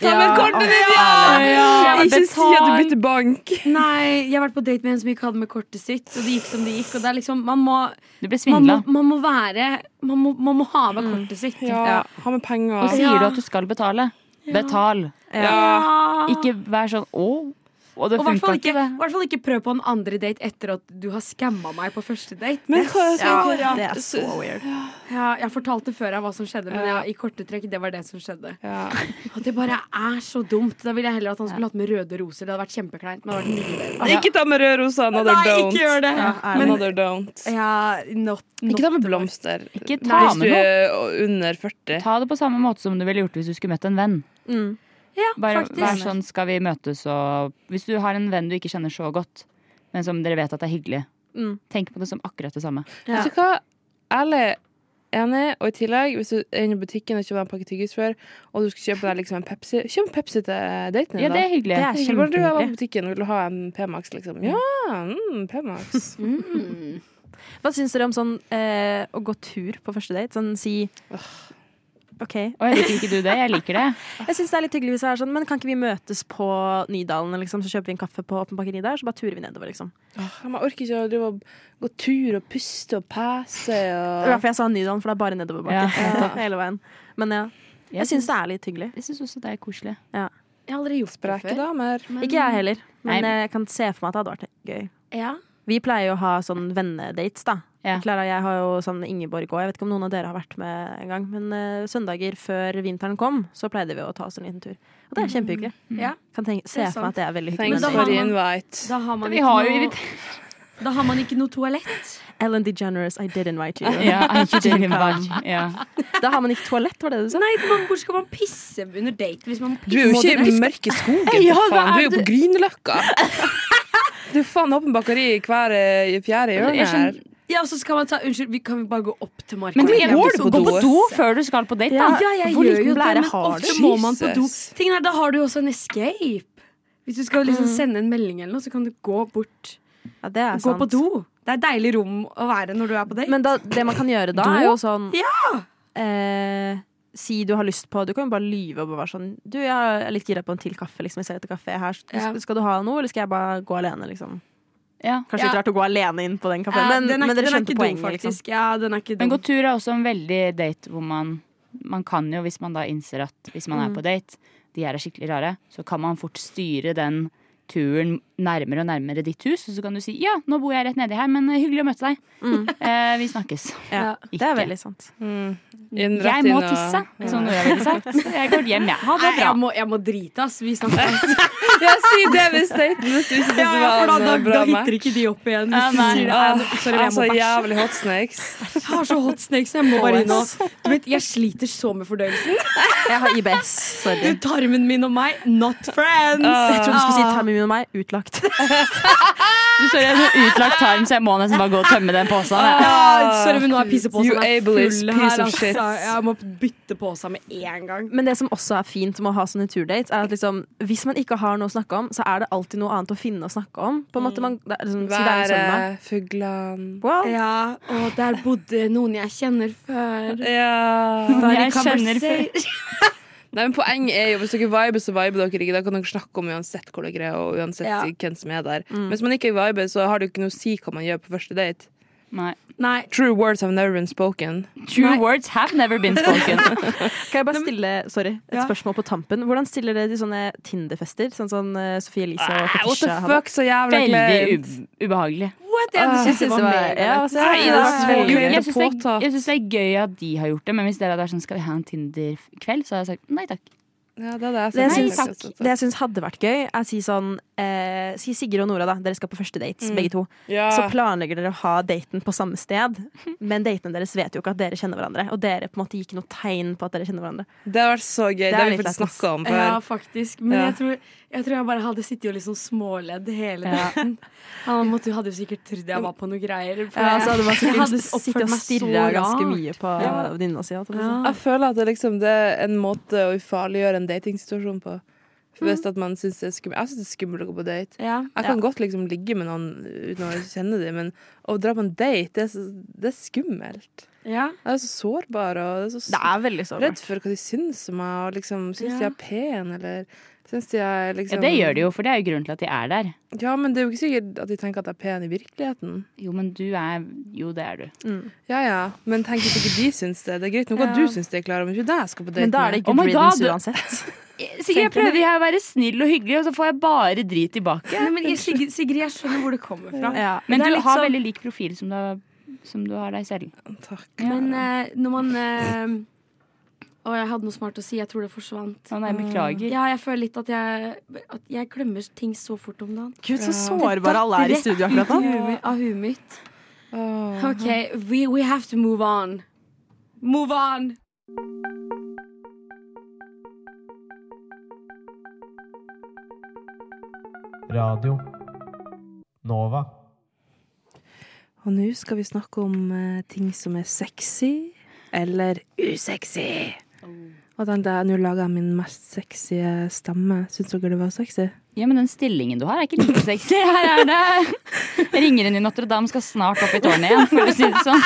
Speaker 2: Ta med kortet ditt!
Speaker 3: Ja,
Speaker 2: Ikke si at du
Speaker 3: betal.
Speaker 2: bytter bank.
Speaker 1: Nei, jeg har vært på date med en som ikke hadde med kortet sitt, og det gikk som det gikk. Og det er liksom, man må,
Speaker 3: Du ble
Speaker 1: man må,
Speaker 3: svindla.
Speaker 1: man må være man må, man må ha med kortet sitt.
Speaker 2: Mm. Ja, ha med penger.
Speaker 3: Og sier du at du skal betale? Betal.
Speaker 2: Ja.
Speaker 3: Ikke vær sånn å, og det
Speaker 1: Ah. Og i hvert
Speaker 3: funka
Speaker 1: fall
Speaker 3: ikke,
Speaker 1: ikke,
Speaker 3: det.
Speaker 1: i hvert fall ikke prøv på en andre date etter at du har skamma meg på første date.
Speaker 2: Men hva er
Speaker 4: Ja,
Speaker 2: så
Speaker 4: det er så
Speaker 2: rart?
Speaker 4: weird.
Speaker 1: Ja, jeg fortalte før jeg hva som skjedde, men ja, i korte trekk, det var det som skjedde.
Speaker 2: Ja.
Speaker 1: Og det bare er så dumt. Da ville jeg heller at han skulle hatt med røde roser. Det hadde vært kjempekleint. Men det hadde vært mye bedre.
Speaker 2: Ikke ta med rød rosa. Another don't.
Speaker 1: gjør det!
Speaker 2: Another don't.
Speaker 1: Ja, not, not
Speaker 2: Ikke ta med blomster.
Speaker 3: Ikke ta
Speaker 2: Hvis
Speaker 3: med
Speaker 2: du
Speaker 3: noe.
Speaker 2: er under 40.
Speaker 3: Ta det på samme måte som du ville gjort hvis du skulle møtt en venn.
Speaker 4: Mm.
Speaker 1: Ja,
Speaker 3: Bare
Speaker 1: faktisk.
Speaker 3: vær sånn, skal vi møtes og Hvis du har en venn du ikke kjenner så godt, men som dere vet at er hyggelig,
Speaker 4: Mm.
Speaker 3: tenk på det som akkurat det samme.
Speaker 1: Ja.
Speaker 2: Vet du hva? Ærlig, enig. Og i tillegg, hvis du er inne i butikken og kjøper en pakke tyggis før, og du skal kjøpe deg liksom en Pepsi, kjøp en Pepsi til daten din,
Speaker 3: Ja, det
Speaker 2: da.
Speaker 3: er hyggelig.
Speaker 4: Det er
Speaker 2: Ikke bare du jeg var på butikken, vil du ha en P-Max, liksom? Ja, mm, P-Max.
Speaker 4: Hva syns dere om sånn eh, å gå tur på første date? Sånn si OK.
Speaker 3: Oi, liker ikke du det? Jeg liker det.
Speaker 4: Jeg syns det er litt hyggelig hvis det er sånn, men kan ikke vi møtes på Nydalen, liksom, så kjøper vi en kaffe på Åpen bakeri der, så bare turer vi nedover, liksom.
Speaker 2: Åh, Jeg orker ikke å drive og gå tur og puste og pese
Speaker 4: Det var
Speaker 2: og
Speaker 4: derfor jeg sa Nydalen, for det er bare nedoverbakke
Speaker 3: Ja.
Speaker 4: hele veien. Men ja, jeg syns det er litt hyggelig.
Speaker 3: Jeg syns også det er koselig.
Speaker 1: Jeg har aldri gjort
Speaker 2: Spreke
Speaker 1: det før.
Speaker 2: damer.
Speaker 1: Men,
Speaker 4: Ikke jeg heller, men
Speaker 3: Nei.
Speaker 4: jeg kan se for meg at det hadde vært gøy.
Speaker 1: Ja.
Speaker 4: Vi pleier jo å ha sånn vennedates, da.
Speaker 3: Ja.
Speaker 4: Klara og jeg har jo sånn Ingeborg òg. Jeg vet ikke om noen av dere har vært med en gang. Men eh, søndager før vinteren kom, så pleide vi å ta oss en liten tur. Og det er kjempehyggelig.
Speaker 1: Ja.
Speaker 4: Kan tenke, se
Speaker 1: Mm. Det er
Speaker 4: for meg at det er veldig
Speaker 2: Thanks
Speaker 1: Men da
Speaker 4: hyggelig.
Speaker 1: har
Speaker 2: for the
Speaker 1: man-
Speaker 2: invite.
Speaker 1: Da har man
Speaker 3: Vi
Speaker 1: ikke
Speaker 3: har jo
Speaker 1: noe,
Speaker 3: invitert
Speaker 1: da har man ikke noe toalett.
Speaker 4: Ellen DeGeneres, I did invite you.
Speaker 3: ja, I didn't invite- ja.
Speaker 4: Da har man ikke toalett, var det du sa?
Speaker 1: Nei, man, hvor skal man pisse under date hvis man må liksom-
Speaker 2: Du er jo
Speaker 1: pisse?
Speaker 2: ikke i mørke skogen, for faen.
Speaker 3: hva er
Speaker 2: Du er jo på Grünerløkka. Det er faen åpen bakeri i hver eh, i fjerde hjørne
Speaker 3: Jeg
Speaker 2: her.
Speaker 3: skjønner-
Speaker 1: Ja, og så skal man ta Unnskyld, vi kan vi bare gå opp til marka?
Speaker 3: Men
Speaker 2: Hvor
Speaker 3: jeg-
Speaker 2: går du
Speaker 1: sånn-
Speaker 2: på
Speaker 3: gå
Speaker 2: do?
Speaker 3: på do før du skal på date,
Speaker 1: Ja,
Speaker 3: da.
Speaker 1: ja, jeg
Speaker 4: Hvor
Speaker 1: gjør
Speaker 4: liten
Speaker 1: jo det,
Speaker 4: blære
Speaker 1: men
Speaker 4: har
Speaker 1: ofte
Speaker 2: du?
Speaker 1: må man på do.
Speaker 2: Jesus.
Speaker 1: Tingen er, Da har du jo også en escape. Hvis du skal liksom sende en melding eller noe, så kan du gå bort.
Speaker 4: Ja, det er
Speaker 1: Gå
Speaker 4: sant.
Speaker 1: på do. Det er deilig rom å være når du er på date.
Speaker 4: Men da, det man kan gjøre da, er jo sånn eh, si du har lyst på Du kan jo bare lyve og bare være sånn Du, jeg er litt gira på en til kaffe, liksom. Jeg ser etter kaffe her.
Speaker 1: Ja.
Speaker 4: Skal du ha noe, eller skal jeg bare gå alene, liksom?
Speaker 3: Ja.
Speaker 4: Kanskje
Speaker 1: Ja.
Speaker 4: litt rart å gå alene inn på
Speaker 1: Ja,
Speaker 4: den kafeen, men,
Speaker 1: den er,
Speaker 4: men
Speaker 1: den
Speaker 4: dere
Speaker 1: er
Speaker 4: skjønte
Speaker 1: ikke
Speaker 4: poenget,
Speaker 1: dum,
Speaker 4: liksom.
Speaker 1: faktisk. Ja, den er ikke dum.
Speaker 3: Men god tur er også en veldig date hvor man Man kan jo, hvis man da innser at hvis man er på date, de her er skikkelig rare, så kan man fort styre den turen nærmere og nærmere ditt hus. Og så kan du si ja, nå bor jeg rett nedi her, men hyggelig å møte deg. Eh, vi snakkes.
Speaker 4: Ja, det
Speaker 3: Ikke.
Speaker 4: er veldig sant.
Speaker 2: Inn- rett
Speaker 3: Jeg må
Speaker 2: inn og-
Speaker 3: tisse, som Nora ville sagt. Så jeg går hjem, jeg. Ha det
Speaker 1: Nei,
Speaker 3: bra.
Speaker 1: jeg må, jeg må drite, ass. Vi snakker
Speaker 2: Ja, si det hvis daten hvis du ikke
Speaker 1: ja, ja, for da, da,
Speaker 2: var en
Speaker 1: da
Speaker 2: bra
Speaker 1: hitter
Speaker 2: match.
Speaker 1: ikke de opp igjen.
Speaker 3: Ja,
Speaker 1: Hvis du
Speaker 3: nei.
Speaker 1: sier det.
Speaker 2: Åh,
Speaker 1: Nei, Sorry, jeg må
Speaker 2: altså,
Speaker 1: bæsje.
Speaker 2: jævlig hot snakes.
Speaker 1: Jeg har så hot snakes, jeg må bare inn og Du vet, jeg sliter så med fordøyelsen.
Speaker 4: Jeg har IBS, sorry.
Speaker 1: Tarmen min og meg, not friends.
Speaker 4: Jeg trodde du skulle si
Speaker 1: Ah.
Speaker 4: tarmen min og meg. Utlagt.
Speaker 3: Du står i en sånn utlagt tarm, så jeg må nesten bare gå og tømme den posen. jeg.
Speaker 1: Ja, Ah, sorry, men nå er pisseposen
Speaker 2: You
Speaker 1: er
Speaker 2: ableist
Speaker 1: full
Speaker 2: piece
Speaker 1: her.
Speaker 2: of
Speaker 1: Altså.
Speaker 2: shit.
Speaker 1: Jeg må bytte pose med en gang.
Speaker 4: Men det som også er fint med å ha sånne turdates, er at liksom, hvis man ikke har noe å snakke om, så er det alltid noe annet å finne å snakke om. På en
Speaker 1: Mm.
Speaker 4: måte man, det er, liksom, si det er en søndag.
Speaker 2: Været, fuglene
Speaker 4: Wow.
Speaker 1: Ja, og der bodde noen jeg kjenner før.
Speaker 2: Ja.
Speaker 1: Var i
Speaker 3: Jeg kjenner
Speaker 1: conversation.
Speaker 2: Nei, men Poenget er jo hvis dere viber, så viber dere ikke. Da kan dere snakke om uansett hvor dere er, og uansett
Speaker 1: Ja.
Speaker 2: hvem som er der. Men hvis man ikke viber, så har det jo ikke noe å si hva man gjør på første date.
Speaker 3: Nei.
Speaker 1: Nei,
Speaker 2: True words have never been spoken.
Speaker 3: True words have never been spoken.
Speaker 4: Kan jeg bare stille sorry, et
Speaker 1: Ja.
Speaker 4: spørsmål på tampen? Hvordan stiller dere til sånne Tinder-fester? Sånn som eh, Sofie Elise og
Speaker 2: Nei, What
Speaker 4: Fetisha
Speaker 2: the
Speaker 4: hadde?
Speaker 2: fuck, så jævla
Speaker 3: Veldig
Speaker 2: kleint.
Speaker 3: ube- ubehagelig.
Speaker 1: what? Jeg
Speaker 4: Jeg
Speaker 1: synes det
Speaker 4: Ah, synes det
Speaker 1: var
Speaker 4: var- ja,
Speaker 1: mer
Speaker 4: altså, jeg-
Speaker 2: Nei, det var
Speaker 4: jeg-
Speaker 2: veldig
Speaker 3: Jeg
Speaker 2: kleint
Speaker 3: syns
Speaker 2: og
Speaker 3: det,
Speaker 2: påtatt.
Speaker 3: jeg synes det er gøy at de har gjort det, men hvis dere hadde vært sånn, skal vi ha en Tinder-kveld, så hadde jeg sagt nei takk.
Speaker 2: Ja, det hadde
Speaker 4: Det
Speaker 2: jeg
Speaker 4: jeg,
Speaker 2: sagt.
Speaker 3: Nei,
Speaker 4: syns, det jeg syns hadde vært gøy, er å si sånn eh, Si Sigrid og Nora, da. Dere skal på første dates, begge to.
Speaker 2: Ja.
Speaker 4: Så planlegger dere å ha daten på samme sted, men datene deres vet jo ikke at dere kjenner hverandre. Og dere på en måte gir ikke noe tegn på at dere kjenner hverandre.
Speaker 2: Det har vært så gøy. Det,
Speaker 4: er
Speaker 2: har vi
Speaker 4: litt
Speaker 2: faktisk
Speaker 4: lættis.
Speaker 2: snakka om før.
Speaker 1: Ja, faktisk. Men
Speaker 2: Ja.
Speaker 1: jeg, tror, jeg tror jeg bare hadde sittet og liksom småledd hele dagen. Han måtte, hadde jo sikkert trodd jeg var på noe greier. For
Speaker 4: Ja, så hadde man
Speaker 1: jeg
Speaker 4: Altså, sikkert
Speaker 1: hadde
Speaker 4: sittet
Speaker 1: oppført meg så
Speaker 4: og stirra ganske
Speaker 1: rart.
Speaker 4: mye på venninna si. holdt jeg på å si.
Speaker 1: Ja.
Speaker 2: Jeg føler at det, liksom, det er en måte å ufarliggjøre en datingsituasjon på. For Hvis at man synes det er skummelt. Jeg syns det er skummelt å gå på date.
Speaker 1: Ja.
Speaker 2: Jeg kan godt liksom ligge med noen uten å kjenne dem, men å dra på en date, det er, så, det er skummelt.
Speaker 1: Ja.
Speaker 2: Jeg er så sårbar og jeg er så
Speaker 4: Det er veldig
Speaker 2: s-
Speaker 4: sårbart.
Speaker 2: redd for hva de syns om meg. Og liksom, syns de
Speaker 1: Ja.
Speaker 2: jeg er pen, eller syns de jeg
Speaker 3: Ja,
Speaker 2: liksom
Speaker 3: det gjør de jo, for det er jo grunnen til at de er der.
Speaker 2: Ja, men det er jo ikke sikkert at de tenker at jeg er pen i virkeligheten.
Speaker 3: Jo, men du er Jo, det er du.
Speaker 2: Ja ja, men tenk hvis ikke de syns det. Det er greit nok at
Speaker 1: Ja.
Speaker 2: du syns det, Klara, men ikke det jeg skal på date
Speaker 4: Men da er det
Speaker 3: Oh
Speaker 4: good
Speaker 3: my
Speaker 4: riddance
Speaker 3: God.
Speaker 4: uansett.
Speaker 1: Eh,
Speaker 3: Sigrid, jeg prøver her å være snill og hyggelig, og så får jeg bare drit tilbake.
Speaker 1: Nei, men jeg, Sigrid, Sigrid, jeg skjønner hvor det kommer fra.
Speaker 4: Ja.
Speaker 3: Men
Speaker 1: Det er
Speaker 3: du
Speaker 1: litt
Speaker 3: har
Speaker 1: sånn-
Speaker 3: veldig lik profil som du har, som du har deg selv.
Speaker 2: med. Takk.
Speaker 1: Men eh, når man eh, Å, jeg hadde noe smart å si. Jeg tror det forsvant.
Speaker 3: Å nei, beklager.
Speaker 1: mm, Ja, jeg føler litt at jeg, at jeg glemmer ting så fort om dagen.
Speaker 4: Gud, så sårbare alle er i studio akkurat
Speaker 1: Av
Speaker 4: nå.
Speaker 1: huet mitt- Av huet mitt.
Speaker 2: Åh.
Speaker 1: OK, we, we have to move on. Move on!
Speaker 7: Radio Nova.
Speaker 2: Og nå skal vi snakke om eh, ting som er sexy eller usexy.
Speaker 1: Oh.
Speaker 2: Og den der, nå lager jeg min mest sexy eh, stemme. Syns dere det var sexy?
Speaker 3: Ja, men den stillingen du har, er ikke like sexy. Her er det Ringeren i Notre-Dame skal snart opp i tårnet igjen, for å si det sånn.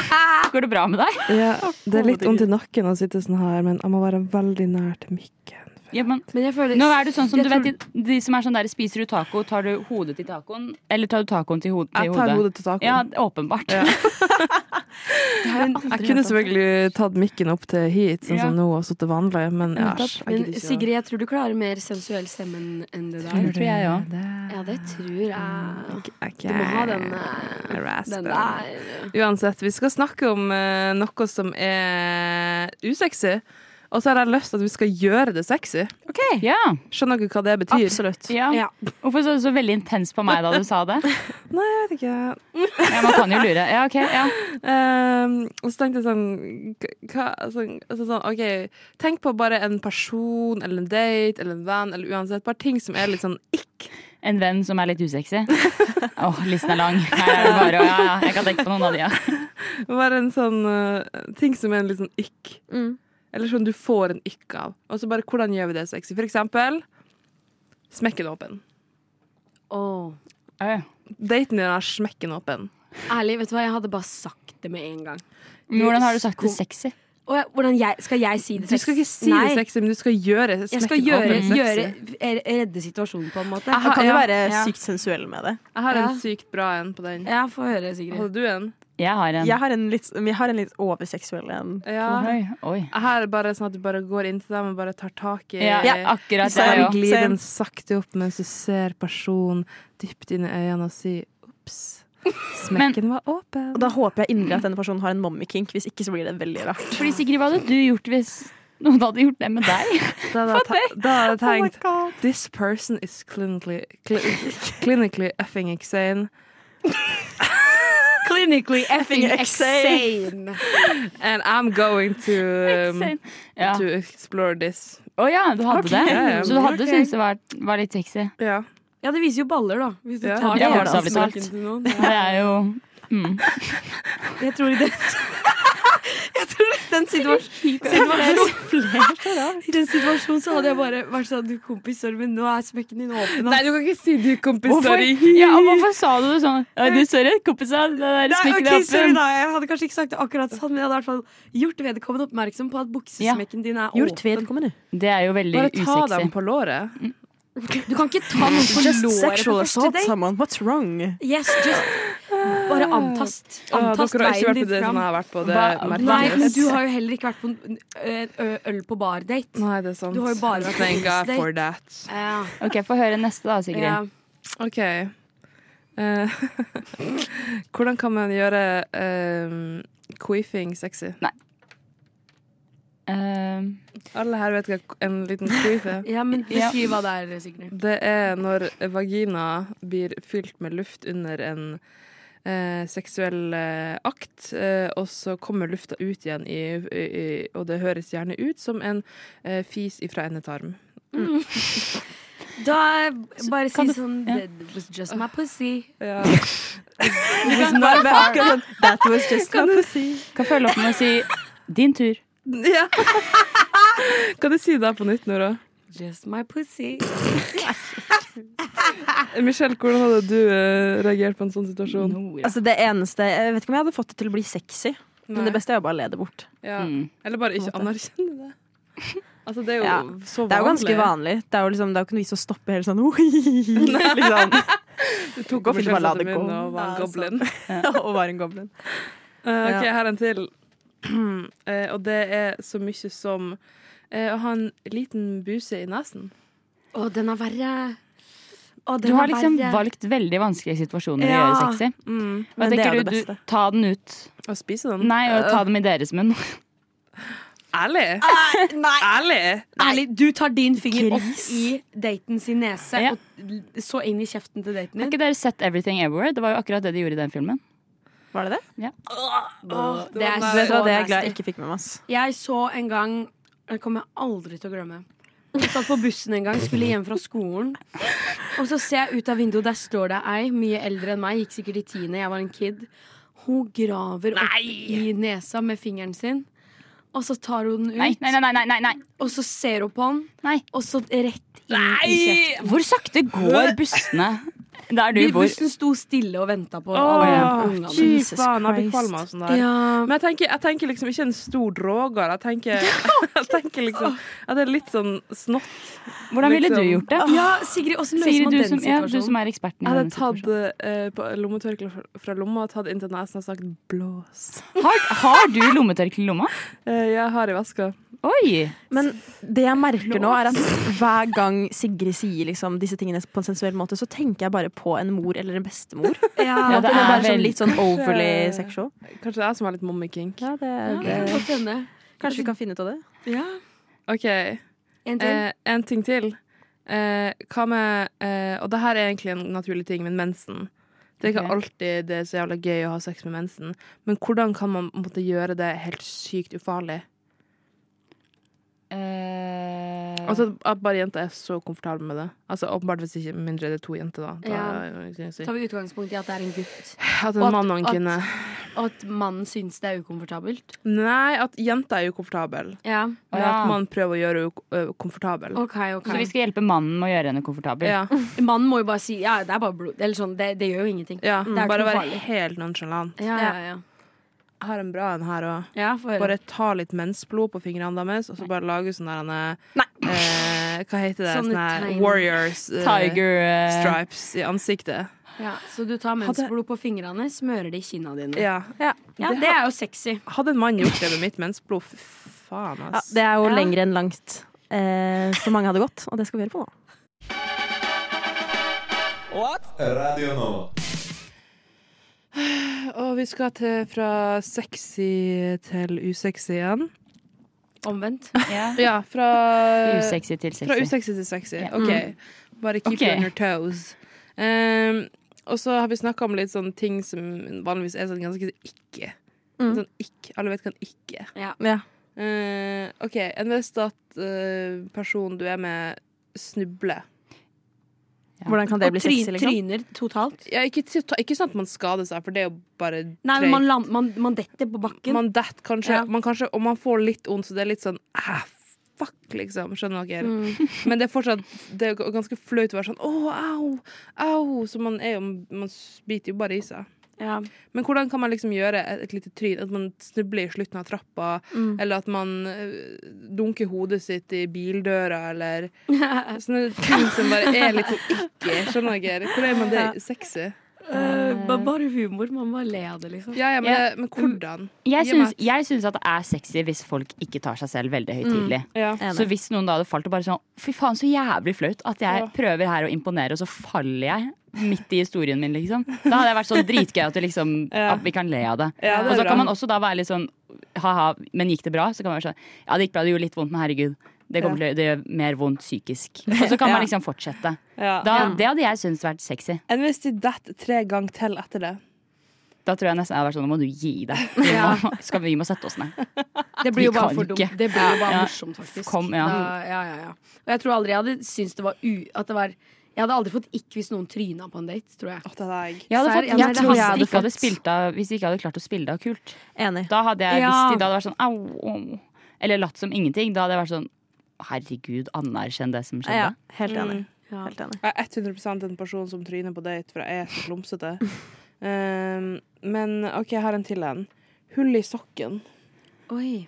Speaker 3: Går det bra med deg?
Speaker 2: Ja, det er litt vondt i nakken å sitte sånn her, men jeg må være veldig nær til mikken.
Speaker 3: Ja, men
Speaker 1: Men jeg føler
Speaker 3: Nå er du sånn som
Speaker 1: Jeg
Speaker 3: du vet, de- de som er sånn der spiser du taco, tar du hodet til tacoen? Eller tar du tacoen til, hod til
Speaker 2: Jeg tar hodet til
Speaker 3: Ja,
Speaker 2: tacoen.
Speaker 3: åpenbart.
Speaker 2: jeg kunne selvfølgelig tatt mikken opp til hit, sånn som nå, og sittet vanlig, men æsj. jeg
Speaker 1: Men
Speaker 2: gidder ikke å-
Speaker 1: Sigrid, jeg tror du klarer mer sensuell stemme enn- enn det
Speaker 3: Det
Speaker 1: der.
Speaker 3: tror jeg òg.
Speaker 1: Ja, det tror jeg.
Speaker 2: Ok.
Speaker 1: Du må ha den, eh, den
Speaker 2: Raspen.
Speaker 1: der.
Speaker 2: Uansett, vi skal snakke om eh, noe som er usexy. Og så har jeg lyst til at vi skal gjøre det sexy.
Speaker 3: Ja.
Speaker 2: Skjønner dere hva det betyr?
Speaker 4: Absolutt.
Speaker 3: ja.
Speaker 1: Ja.
Speaker 3: Hvorfor så du så veldig intens på meg da du sa det?
Speaker 2: Nei, jeg vet ikke.
Speaker 3: Ja, man kan jo lure. Ja, ok. Ja.
Speaker 2: Ehm, og så tenkte jeg sånn, k- hva, sånn, altså sånn OK, tenk på bare en person eller en date eller en venn eller uansett. Bare ting som er litt sånn ikk.
Speaker 3: En venn som er litt usexy? Åh, listen er lang. Her er det bare å ja, ja. Jeg kan tenke på noen av de, ja.
Speaker 2: Bare en sånn eh, ting som er en litt sånn ikk.
Speaker 4: Mm.
Speaker 2: Eller sånn du får en ikk av. Og så bare hvordan gjør vi det sexy? For eksempel smekken åpen.
Speaker 1: Åh.
Speaker 3: Au.
Speaker 2: Daten din er smekken åpen.
Speaker 1: Ærlig, vet du hva, jeg hadde bare sagt det med en gang.
Speaker 3: Mm. Men hvordan har du sagt det sexy?
Speaker 1: Og jeg, hvordan jeg, skal jeg si det
Speaker 2: Du skal ikke si
Speaker 1: Nei,
Speaker 2: det sexy, men du skal gjøre
Speaker 1: Jeg skal
Speaker 2: smekken over
Speaker 1: gjøre,
Speaker 2: sexy.
Speaker 1: gjøre redde situasjonen, på en måte.
Speaker 2: Aha,
Speaker 4: kan jo
Speaker 2: ja.
Speaker 4: være
Speaker 1: Ja.
Speaker 4: sykt sensuell med det.
Speaker 2: Jeg har
Speaker 1: Ja.
Speaker 2: en sykt bra en på den.
Speaker 1: Ja, få høre, Sigrid.
Speaker 2: Hadde du en?
Speaker 3: Jeg har en.
Speaker 4: Jeg har en litt, vi har en litt overseksuell en.
Speaker 2: Ja.
Speaker 3: Oi, oi.
Speaker 2: Jeg har bare sånn at du bare går inn til dem og bare tar tak i
Speaker 3: Ja, akkurat
Speaker 4: Så
Speaker 3: det
Speaker 4: er
Speaker 3: er
Speaker 4: vi
Speaker 3: jo.
Speaker 4: glad.
Speaker 2: Glir
Speaker 4: Same.
Speaker 2: den sakte opp mens du ser personen dypt inn i øynene og sier ops. Smekken var åpen.
Speaker 4: Og da håper jeg inderlig at denne personen har en mommy-kink, hvis ikke så blir det veldig rart.
Speaker 3: Fordi Sigrid, hva hadde du gjort hvis noen hadde gjort det med deg?
Speaker 2: Da hadde jeg te- da hadde jeg tenkt This person is clinically, cli clinically effing insane.
Speaker 1: Clinically effing
Speaker 2: And I'm going to, um,
Speaker 3: Ja.
Speaker 2: to explore this.
Speaker 3: Å ja, du hadde
Speaker 2: ja, ja.
Speaker 3: det? Så du hadde
Speaker 2: Ok.
Speaker 3: syntes det var, var litt sexy?
Speaker 2: Ja.
Speaker 1: Ja, det viser jo baller, da. Hvis du
Speaker 2: Ja,
Speaker 1: tar
Speaker 3: det
Speaker 1: det
Speaker 3: er
Speaker 1: av
Speaker 3: bokstavelig
Speaker 1: smaken
Speaker 3: talt.
Speaker 1: til noen.
Speaker 3: Det er jo mm.
Speaker 1: Jeg tror det Jeg tror i den situasjonen I den situasjonen så hadde jeg bare vært sånn Du kompis, sorry, men nå er smekken din åpen. ass."
Speaker 2: Nei, du kan ikke si du, kompis.
Speaker 3: Hvorfor?
Speaker 2: Sorry.
Speaker 3: Ja, og hvorfor sa du det sånn? Ja, du, sorry, kompisa. Det der
Speaker 1: Nei,
Speaker 3: smekken
Speaker 1: ok, sorry
Speaker 3: er åpen.
Speaker 1: da, Jeg hadde kanskje ikke sagt det akkurat sånn, men jeg hadde i hvert fall gjort vedkommende oppmerksom på at buksesmekken din er
Speaker 4: Gjort
Speaker 1: åpen.
Speaker 4: vedkommende.
Speaker 3: Det er jo veldig
Speaker 2: Bare ta dem
Speaker 3: usexy.
Speaker 2: på låret.
Speaker 1: Du kan ikke ta noen på
Speaker 4: Just
Speaker 1: låret på
Speaker 4: sexual
Speaker 1: første
Speaker 4: assault
Speaker 1: date.
Speaker 4: someone. What's wrong?
Speaker 1: Yes, just Bare antast.
Speaker 2: Ah,
Speaker 1: Antast
Speaker 2: dere har
Speaker 1: veien din
Speaker 2: ikke vært på det som
Speaker 1: fram.
Speaker 2: jeg har vært på. Det
Speaker 3: Hva-
Speaker 2: merker
Speaker 1: Nei,
Speaker 2: jeg.
Speaker 1: men du har jo heller ikke vært på en en ø- øl på bar-date.
Speaker 2: Nei, det er sant.
Speaker 1: Du har jo bare vært på
Speaker 2: Thank God
Speaker 1: business
Speaker 2: for that.
Speaker 1: Ja.
Speaker 3: Ok, Få høre neste, da, Sigrid.
Speaker 1: Ja.
Speaker 2: OK. Eh, hvordan kan man gjøre um, queefing sexy?
Speaker 3: Ehm,
Speaker 2: Alle her vet hva en liten queef er.
Speaker 1: ja, men
Speaker 3: Ja.
Speaker 1: beskriv hva det er, Sigrid.
Speaker 2: Det er når vagina blir fylt med luft under en eh, seksuell eh, akt, eh, og så kommer lufta ut igjen, i, i, i, og det høres gjerne ut som en eh, fis ifra endetarm.
Speaker 1: Da bare si
Speaker 3: kan du-
Speaker 1: sånn
Speaker 3: ja.
Speaker 1: That was just my pussy.
Speaker 2: Ja.
Speaker 4: That was just
Speaker 2: Kan du si
Speaker 3: Kan følge opp med å si din tur.
Speaker 2: Ja. Kan du si det på nytt, Nora?
Speaker 1: Just my pussy.
Speaker 2: Michelle, hvordan hadde du eh, reagert på en sånn situasjon?
Speaker 3: Oh,
Speaker 4: Altså det eneste, Jeg vet ikke om jeg hadde fått det til å bli sexy, men
Speaker 2: Nei.
Speaker 4: det beste er jo bare å le det bort.
Speaker 2: Ja.
Speaker 3: Mm.
Speaker 2: Eller bare ikke anerkjenne det. Altså, det er jo
Speaker 4: Ja.
Speaker 2: så vanlig.
Speaker 4: Det er jo ganske vanlig. Det er jo liksom, det er jo ikke noe vits å stoppe helt sånn liksom.
Speaker 2: Du tok
Speaker 4: Gå for
Speaker 2: Michelle
Speaker 4: det, bare la
Speaker 2: seg til
Speaker 4: det gå.
Speaker 2: munnen og var en
Speaker 4: Ja,
Speaker 2: goblin.
Speaker 4: Og var en goblin.
Speaker 2: Eh, OK,
Speaker 4: Ja.
Speaker 2: her er en til. Eh, og det er så mye som eh, å ha en liten buse i nesen.
Speaker 1: Å, den er verre. Å,
Speaker 3: Du
Speaker 1: den
Speaker 3: har
Speaker 1: er
Speaker 3: liksom
Speaker 1: verre.
Speaker 3: valgt veldig vanskelige situasjoner å
Speaker 1: Ja.
Speaker 3: gjøre sexy. Hva
Speaker 4: Men det er
Speaker 3: tenker
Speaker 4: det
Speaker 3: du?
Speaker 4: beste.
Speaker 3: du? Ta den ut.
Speaker 2: Å spise den.
Speaker 3: Nei, og ta dem i deres munn.
Speaker 2: Ærlig!
Speaker 4: Ah,
Speaker 1: Nei,
Speaker 2: Ærlig!
Speaker 1: ærlig, du tar din finger opp i daten sin nese
Speaker 3: Ja.
Speaker 1: og så inn i kjeften til daten
Speaker 3: Har
Speaker 1: din.
Speaker 3: ikke dere sett Everything Everywhere? Det var jo akkurat det de gjorde i den filmen.
Speaker 4: Var det det?
Speaker 1: Åh, det er
Speaker 2: Nei,
Speaker 4: Vet du hva,
Speaker 1: så
Speaker 4: det er jeg glad
Speaker 1: nasty.
Speaker 4: jeg ikke fikk med meg. ass.
Speaker 1: Jeg så en gang Det kommer jeg aldri til å glemme. Jeg satt på bussen en gang, skulle hjem fra skolen. Og så ser jeg ut av vinduet, der står det ei mye eldre enn meg, gikk sikkert i tiende, jeg var en kid. Hun graver opp i nesa med fingeren sin, og så tar hun den ut.
Speaker 3: Nei, nei, nei, nei, nei, nei.
Speaker 1: Og så ser hun på den,
Speaker 3: Nei.
Speaker 1: og så rett inn i kjeften.
Speaker 3: Hvor sakte går bussene der du
Speaker 1: Vi-
Speaker 3: bor?
Speaker 1: Bussen sto stille og venta på
Speaker 2: Åh,
Speaker 1: alle
Speaker 2: fy
Speaker 1: ungene.
Speaker 2: faen, jeg blir kvalm av sånn der.
Speaker 1: Ja.
Speaker 2: Men jeg tenker, jeg tenker liksom ikke en stor droger. Jeg tenker, jeg tenker liksom at det er litt sånn snott.
Speaker 3: Hvordan ville du
Speaker 2: liksom-
Speaker 3: gjort det?
Speaker 1: ja, Sigrid, åssen ah, løser
Speaker 3: Sigrid,
Speaker 1: man
Speaker 3: du
Speaker 1: den
Speaker 3: som, ja, du
Speaker 1: situasjonen?
Speaker 3: som er eksperten. i
Speaker 2: Jeg hadde
Speaker 3: denne
Speaker 2: tatt
Speaker 3: situasjonen.
Speaker 2: eh, på lommetørkle fra- fra lomma og tatt inn til nesen og sagt 'blås'.
Speaker 3: Har, har du lommetørkle i lomma?
Speaker 2: Eh, jeg har i veska.
Speaker 3: Oi!
Speaker 4: Men det jeg merker nå, er at hver gang Sigrid sier liksom, disse tingene på en sensuell måte, så tenker jeg bare på en mor eller en bestemor.
Speaker 3: Ja,
Speaker 1: Ja,
Speaker 3: det
Speaker 4: Det er
Speaker 3: er
Speaker 4: bare sånn
Speaker 3: vel
Speaker 4: litt sånn overly sexual.
Speaker 2: Kanskje jeg som er litt mommy-kink.
Speaker 4: Ja,
Speaker 1: det
Speaker 4: det,
Speaker 1: kan godt hende.
Speaker 4: Kanskje vi kan finne ut av det?
Speaker 1: Ja.
Speaker 2: OK,
Speaker 1: En til.
Speaker 2: eh, en ting til. Eh, hva med eh, Og det her er egentlig en naturlig ting, men mensen. Det er ikke
Speaker 3: Ok.
Speaker 2: alltid det er så jævla gøy å ha sex med mensen, men hvordan kan man måtte gjøre det helt sykt ufarlig?
Speaker 3: Eh,
Speaker 2: Altså At bare jenter er så komfortable med det. Altså Åpenbart hvis ikke mindre det er to jenter, da. da
Speaker 1: Tar vi utgangspunkt i at det er en gutt,
Speaker 2: At
Speaker 1: Og
Speaker 2: en
Speaker 1: at-
Speaker 2: mann og en
Speaker 1: at-
Speaker 2: kvinne.
Speaker 1: og at mannen syns det er ukomfortabelt?
Speaker 2: Nei, at jenta er ukomfortabel.
Speaker 1: Ja,
Speaker 3: Å,
Speaker 2: Men
Speaker 3: ja.
Speaker 2: at man prøver å gjøre henne u- komfortabel.
Speaker 1: ok, ok
Speaker 3: Så vi skal hjelpe mannen med å gjøre henne komfortabel?
Speaker 2: Ja.
Speaker 1: Mannen må jo bare si ja, det er bare blod. Eller sånn, det, det gjør jo ingenting.
Speaker 2: ja.
Speaker 1: er ikke
Speaker 2: Bare
Speaker 1: noe
Speaker 2: være
Speaker 1: farlig.
Speaker 2: helt nonchalant.
Speaker 1: Ja, ja, ja.
Speaker 2: Jeg har en bra en her òg.
Speaker 1: Ja, få høre.
Speaker 2: Bare ta litt mensblod på fingrene deres, og så bare lage sånn der han
Speaker 1: Nei.
Speaker 2: eh, Hva heter det?
Speaker 1: Sånne
Speaker 2: Sånn her
Speaker 1: tegn.
Speaker 2: Warriors eh,
Speaker 3: Tiger eh,
Speaker 2: stripes i ansiktet.
Speaker 1: Ja, så du tar mensblod på fingrene, smører det i kinna dine.
Speaker 2: Ja.
Speaker 1: Ja, det er jo sexy.
Speaker 2: Hadde en mann gjort det med mitt mensblod, fy faen,
Speaker 4: Ja,
Speaker 2: ass.
Speaker 4: det er jo
Speaker 1: Ja.
Speaker 4: lenger enn langt eh, så mange hadde gått, og det skal vi gjøre på nå.
Speaker 7: Radio Nova.
Speaker 2: Og vi skal til fra sexy til usexy igjen.
Speaker 1: Omvendt.
Speaker 3: ja.
Speaker 2: Ja, fra
Speaker 3: Usexy til
Speaker 2: Fra
Speaker 3: sexy.
Speaker 2: usexy til sexy. OK. Bare keep you
Speaker 3: Ok.
Speaker 2: on your toes. Ehm, og så har vi snakka om litt sånne ting som vanligvis er sånn ganske ikke. Sånn ikke. Alle vet hva en ikke er.
Speaker 4: Ja.
Speaker 2: Eh, OK, en hvis at eh, personen du er med, snubler.
Speaker 4: Hvordan kan det bli
Speaker 1: Try,
Speaker 4: sexy, liksom?
Speaker 1: tryner totalt.
Speaker 2: Ja, ikke, til- ikke sånn at man skader seg, for det er jo bare
Speaker 1: Nei,
Speaker 2: drøyt.
Speaker 1: men man, land, man, man detter på bakken.
Speaker 2: Man detter kanskje,
Speaker 1: Ja.
Speaker 2: man kanskje, og man får litt vondt, så det er litt sånn ah, fuck, liksom. Skjønner dere? Men det er fortsatt det er jo ganske flaut å være sånn åh, au, au. Så man, er jo, man s- biter jo bare i seg.
Speaker 1: ja.
Speaker 2: Men hvordan kan man liksom gjøre et, et lite tryn? At man snubler i slutten av trappa, eller at man øh, dunker hodet sitt i bildøra, eller sånne ting som bare er litt sånn ikke. Skjønner dere? Hvor er man det sexy?
Speaker 1: Eh, ba- bare humor. Man bare le av det, liksom.
Speaker 2: Ja, ja, men,
Speaker 3: Ja.
Speaker 2: det- men hvordan?
Speaker 3: Jeg
Speaker 2: Gi meg
Speaker 3: syns,
Speaker 2: et-
Speaker 3: jeg syns at det er sexy hvis folk ikke tar seg selv veldig høytidelig.
Speaker 2: Ja.
Speaker 3: Så hvis noen da hadde falt og bare sånn Fy faen, så jævlig flaut at jeg
Speaker 2: Ja.
Speaker 3: prøver her å imponere, og så faller jeg midt i historien min, liksom. Da hadde jeg vært sånn dritgøy at, det liksom,
Speaker 2: Ja.
Speaker 3: at vi kan le av det.
Speaker 2: Ja, det er
Speaker 3: og så
Speaker 2: bra.
Speaker 3: kan man også da være litt sånn ha-ha, men gikk det bra? Så kan man være sånn Ja, det gikk bra, det gjorde litt vondt, men herregud. Det, kommer til, å- det gjør mer vondt psykisk. Og så kan man liksom fortsette.
Speaker 2: Ja.
Speaker 3: Da, det hadde jeg syntes vært sexy.
Speaker 2: Enn hvis de detter tre ganger til etter det?
Speaker 3: Da tror jeg nesten jeg hadde vært sånn Nå må du gi deg. Vi må, skal, vi må sette oss ned.
Speaker 1: Det blir jo
Speaker 3: Vi
Speaker 1: bare
Speaker 3: kan
Speaker 1: for dumt.
Speaker 3: ikke.
Speaker 1: Det blir jo bare
Speaker 3: Ja.
Speaker 1: morsomt, faktisk.
Speaker 3: Kom, ja.
Speaker 1: Da, ja, ja, ja. Og jeg tror aldri jeg hadde syntes det var u... At det var jeg hadde aldri fått ikk hvis noen tryna på en date, tror jeg.
Speaker 2: Åh, det er jeg.
Speaker 3: Jeg hadde
Speaker 1: Serr,
Speaker 3: fått
Speaker 1: ja,
Speaker 3: jeg
Speaker 1: men det
Speaker 3: tror jeg
Speaker 1: hadde
Speaker 3: hadde ikke hadde
Speaker 1: fått-
Speaker 3: spilt av, hvis de ikke hadde klart å spille det av kult.
Speaker 4: Enig.
Speaker 3: Da hadde jeg,
Speaker 1: Ja.
Speaker 3: hvis de da hadde vært sånn au, au, eller latt som ingenting, da hadde jeg vært sånn herregud, anerkjenn det som
Speaker 4: Ja,
Speaker 3: skjedde.
Speaker 4: helt enig.
Speaker 1: Ja.
Speaker 4: Helt enig.
Speaker 2: Jeg er 100 en person som tryner på date, for jeg er så klumsete. Um, men OK, jeg har en til en. Hull i sokken.
Speaker 1: Oi.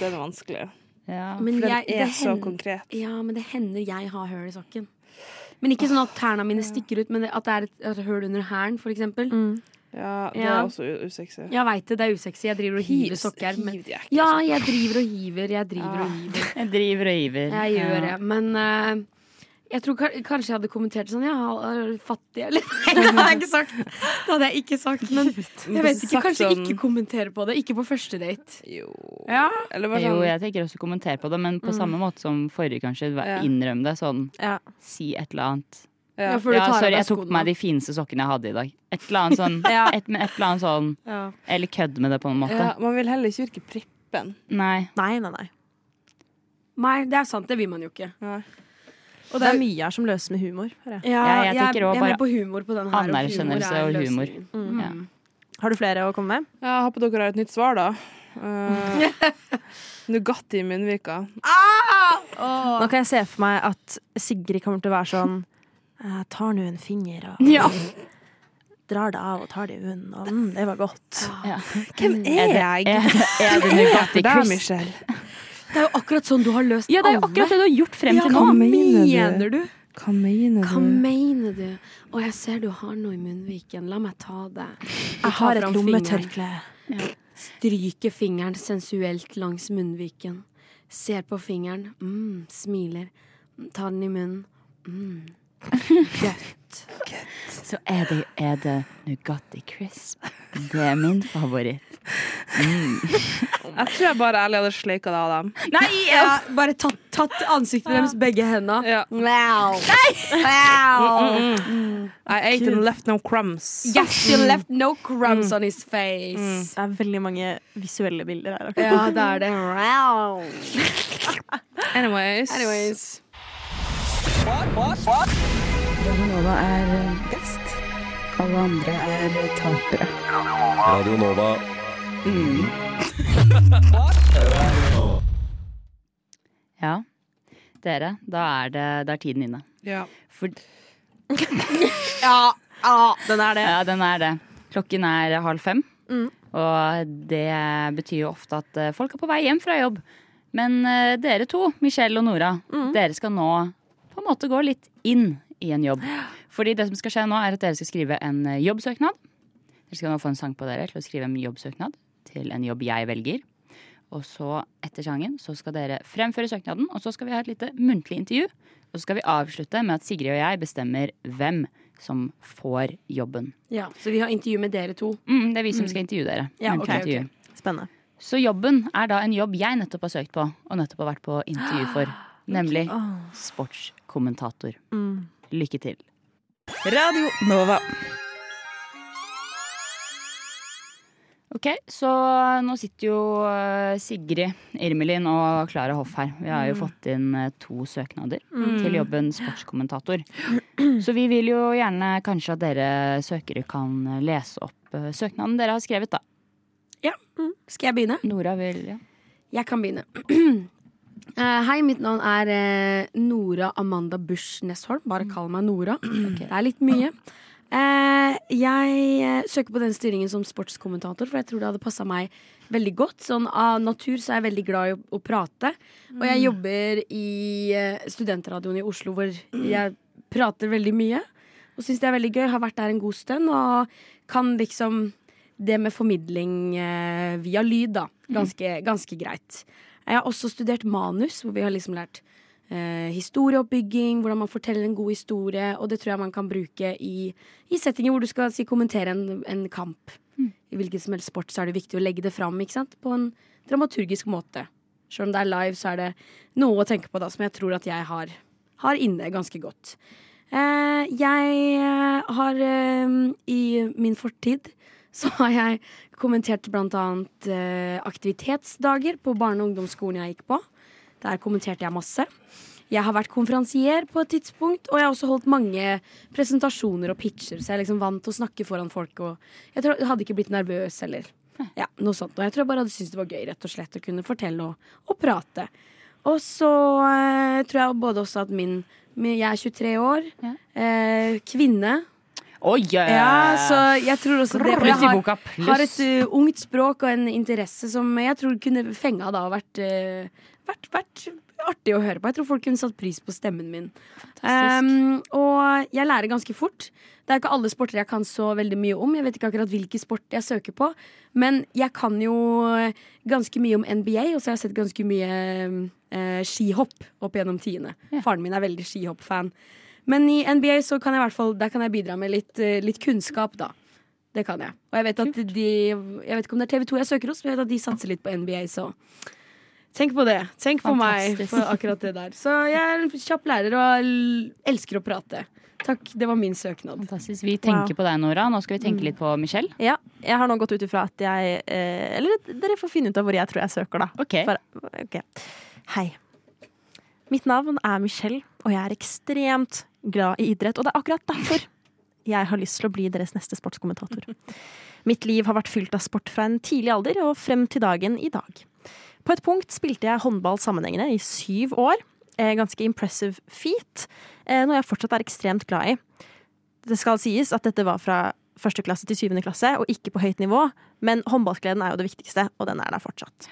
Speaker 2: Den er vanskelig.
Speaker 3: Ja.
Speaker 1: Men
Speaker 2: For den
Speaker 1: jeg,
Speaker 2: er
Speaker 1: det
Speaker 2: så
Speaker 1: hender,
Speaker 2: konkret.
Speaker 1: ja, men det hender jeg har høl i sokken. Men ikke sånn at tærne mine stikker ut, men at det er et, et høl under hælen, for eksempel.
Speaker 2: Mm. Ja, det
Speaker 1: Ja.
Speaker 2: er også u- usexy.
Speaker 1: Jeg veit det, det er usexy. Jeg driver og hiver sokker. Men,
Speaker 2: Hiv de ekle
Speaker 1: ja,
Speaker 2: sokkene.
Speaker 1: jeg driver og hiver, jeg driver
Speaker 2: Ah.
Speaker 1: og hiver.
Speaker 3: Jeg driver og giver.
Speaker 1: Jeg gjør det.
Speaker 3: Ja.
Speaker 1: Men eh, jeg tror ka- kanskje jeg hadde kommentert sånn Ja, er du fattig, eller? Nei, det hadde jeg ikke sagt. Det hadde jeg ikke sagt. Men jeg vet ikke.
Speaker 2: Sagt
Speaker 1: Kanskje
Speaker 2: sånn-
Speaker 1: ikke kommentere på det. Ikke på første date.
Speaker 2: Jo.
Speaker 1: Ja.
Speaker 2: Eller bare
Speaker 3: Jo,
Speaker 2: sånn
Speaker 3: jeg tenker også å kommentere på det, men på samme måte som forrige, kanskje.
Speaker 2: Ja.
Speaker 3: Innrøm det. Sånn,
Speaker 4: Ja.
Speaker 3: si et eller annet.
Speaker 2: Ja.
Speaker 1: før du
Speaker 3: Ja,
Speaker 1: tar av
Speaker 3: sorry,
Speaker 1: deg
Speaker 3: jeg tok på
Speaker 1: skoene.
Speaker 3: meg de fineste sokkene jeg hadde i dag. Et eller annet sånn.
Speaker 4: Ja.
Speaker 3: et, med et eller annet sånn.
Speaker 2: Ja.
Speaker 3: Eller kødd med det, på en måte.
Speaker 2: ja, Man vil heller ikke virke prippen.
Speaker 3: Nei.
Speaker 4: Nei, nei, nei.
Speaker 1: Nei, det er sant. Det vil man jo ikke.
Speaker 2: Nei.
Speaker 4: Og det er mye her som løses med humor. hører jeg.
Speaker 1: Ja,
Speaker 3: Jeg- jeg tenker også
Speaker 1: jeg
Speaker 3: bare
Speaker 1: er med på humor på den her. og humor er
Speaker 3: anerkjennelse og humor.
Speaker 1: løsningen.
Speaker 3: Ja.
Speaker 4: Har du flere å komme med?
Speaker 2: Ja, jeg håper dere har et nytt svar, da. Uh, Nugatti i munnvika.
Speaker 4: Nå kan jeg se for meg at Sigrid kommer til å være sånn Jeg tar nå en finger og
Speaker 3: Ja.
Speaker 4: drar det av og tar det i munnen. Og mm, det var godt.
Speaker 2: Hvem er jeg?
Speaker 3: Er, er det Nugatti
Speaker 2: Der,
Speaker 3: Crisp?
Speaker 2: Michelle.
Speaker 1: Det er jo akkurat sånn du har løst
Speaker 3: Ja, det er jo akkurat det du har gjort frem til
Speaker 1: Ja,
Speaker 3: nå.
Speaker 2: Hva mener du?
Speaker 1: mener du?
Speaker 2: Hva mener
Speaker 1: Hva mener du? Å, jeg ser du har noe i munnviken. La meg ta det.
Speaker 4: Jeg har et lommetørkle.
Speaker 1: Stryker fingeren sensuelt langs munnviken. Ser på fingeren. Mm, smiler. Tar den i munnen.
Speaker 3: Så er det, er det Nugatti Crisp. Det er min favoritt.
Speaker 2: Jeg tror jeg bare ærlig hadde sleika det av dem.
Speaker 1: Nei! Ja, bare tatt, tatt ansiktet deres begge henda.
Speaker 2: Ja.
Speaker 1: Wow.
Speaker 2: I ate and left no crumbs.
Speaker 1: Yes, she left no crumbs on his face.
Speaker 4: Det er veldig mange visuelle bilder her.
Speaker 1: Ja,
Speaker 4: akkurat.
Speaker 1: det er det. Wow.
Speaker 2: Anyways.
Speaker 1: Anyways.
Speaker 5: Radio Nova.
Speaker 3: Ja. Dere, da er, det, da er tiden inne.
Speaker 2: Ja.
Speaker 3: For,
Speaker 4: Den er det.
Speaker 3: ja, den er det. Klokken er halv fem. Og det betyr jo ofte at eh, folk er på vei hjem fra jobb. Men eh, dere to, Michelle og Nora, dere skal nå på en måte gå litt inn i en jobb. Fordi det som skal skje nå, er at dere skal skrive en eh, jobbsøknad. Dere skal nå få en sang på dere til å skrive en jobbsøknad til en jobb jeg velger. Og så, etter sangen, så skal dere fremføre søknaden, og så skal vi ha et lite muntlig intervju. Og så skal vi avslutte med at Sigrid og jeg bestemmer hvem som får jobben.
Speaker 1: Ja, så vi har intervju med dere to.
Speaker 3: Mm, det er vi som skal intervjue dere.
Speaker 1: Ja, ok, ok.
Speaker 3: Muntlig intervju.
Speaker 4: Spennende.
Speaker 3: Så jobben er da en jobb jeg nettopp har søkt på, og nettopp har vært på intervju for. Nemlig sportskommentator. Lykke til.
Speaker 8: Mm. Radio Nova.
Speaker 3: Ok, så nå sitter jo eh, Sigrid Irmelin og Klara Hoff her. Vi
Speaker 8: Mm.
Speaker 3: har jo fått inn eh, to søknader til jobben sportskommentator. Så vi vil jo gjerne kanskje at dere søkere kan lese opp eh, søknaden dere har skrevet, da.
Speaker 1: Skal jeg begynne?
Speaker 3: Nora vil ja.
Speaker 1: Jeg kan begynne. Eh, hei, mitt navn er eh, Nora Amanda Busch Nesholm. Bare kall meg Nora. Det er litt mye. Eh, jeg eh, søker på den stillingen som sportskommentator, for jeg tror det hadde passa meg veldig godt. Sånn Av natur så er jeg veldig glad i å, å prate. Og jeg jobber i eh, studentradioen i Oslo, hvor jeg prater veldig mye. Og syns det er veldig gøy. Har vært der en god stund og kan liksom det med formidling eh, via lyd, da. Ganske, ganske greit. Jeg har også studert manus, hvor vi har liksom lært eh, historieoppbygging, hvordan man forteller en god historie, og det tror jeg man kan bruke i, i settinger hvor du skal si, kommentere en, en kamp. I hvilken som helst sport så er det viktig å legge det fram ikke sant? på en dramaturgisk måte. Selv om det er live, så er det noe å tenke på da, som jeg tror at jeg har, har inne ganske godt. Eh, jeg eh, har eh, i min fortid så har jeg kommentert blant annet eh, aktivitetsdager på barne- og ungdomsskolen jeg gikk på. Der kommenterte jeg masse. Jeg har vært konferansier på et tidspunkt, og jeg har også holdt mange presentasjoner og pitcher, så jeg er liksom vant til å snakke foran folk. Og jeg tror jeg hadde ikke blitt nervøs eller ja, noe sånt. Og jeg tror jeg bare hadde syntes det var gøy rett og slett å kunne fortelle og, og prate. Og så eh, tror jeg både også at min, min Jeg er 23 år, eh, kvinne.
Speaker 3: Oi! eh,
Speaker 1: Ja, så jeg tror også det. For jeg
Speaker 3: Pluss i
Speaker 1: har,
Speaker 3: boka, pluss.
Speaker 1: har et uh, ungt språk og en interesse som jeg tror kunne fenga da og vært, uh, vært, vært artig å høre på. Jeg tror folk kunne satt pris på stemmen min. Um, og jeg lærer ganske fort. Det er ikke alle sporter jeg kan så veldig mye om. Jeg vet ikke akkurat hvilken sport jeg søker på, men jeg kan jo eh, ganske mye om NBA, og så har jeg sett ganske mye eh, skihopp opp gjennom tiende. Faren min er veldig skihopp-fan. Men i NBA så kan jeg i hvert fall Der kan jeg bidra med litt, eh, litt kunnskap, da. Det kan jeg. Og jeg vet at de Jeg vet ikke om det er TV2 jeg søker hos, men jeg vet at de satser litt på NBA, så Tenk på det. Tenk på meg
Speaker 3: Fantastisk.
Speaker 1: for akkurat det der. Så jeg er en kjapp lærer og l- elsker å prate. Takk, det var min søknad.
Speaker 3: Fantastisk. Vi tenker på deg, Nora. Nå skal vi tenke litt på Michelle.
Speaker 4: Ja, jeg har nå gått ut ifra at jeg eh, Eller dere får finne ut av hvor jeg tror jeg søker, da.
Speaker 3: Ok.
Speaker 4: For, ok. Hei. Mitt navn er Michelle, og jeg er ekstremt glad i idrett. Og det er akkurat derfor jeg har lyst til å bli deres neste sportskommentator. Mitt liv har vært fylt av sport fra en tidlig alder og frem til dagen i dag. På et punkt spilte jeg håndball sammenhengende i syv år. Eh, Ganske impressive feat, eh, noe jeg fortsatt er ekstremt glad i. Det skal sies at dette var fra første klasse til syvende klasse, og ikke på høyt nivå, men håndballgleden er jo det viktigste, og den er der fortsatt.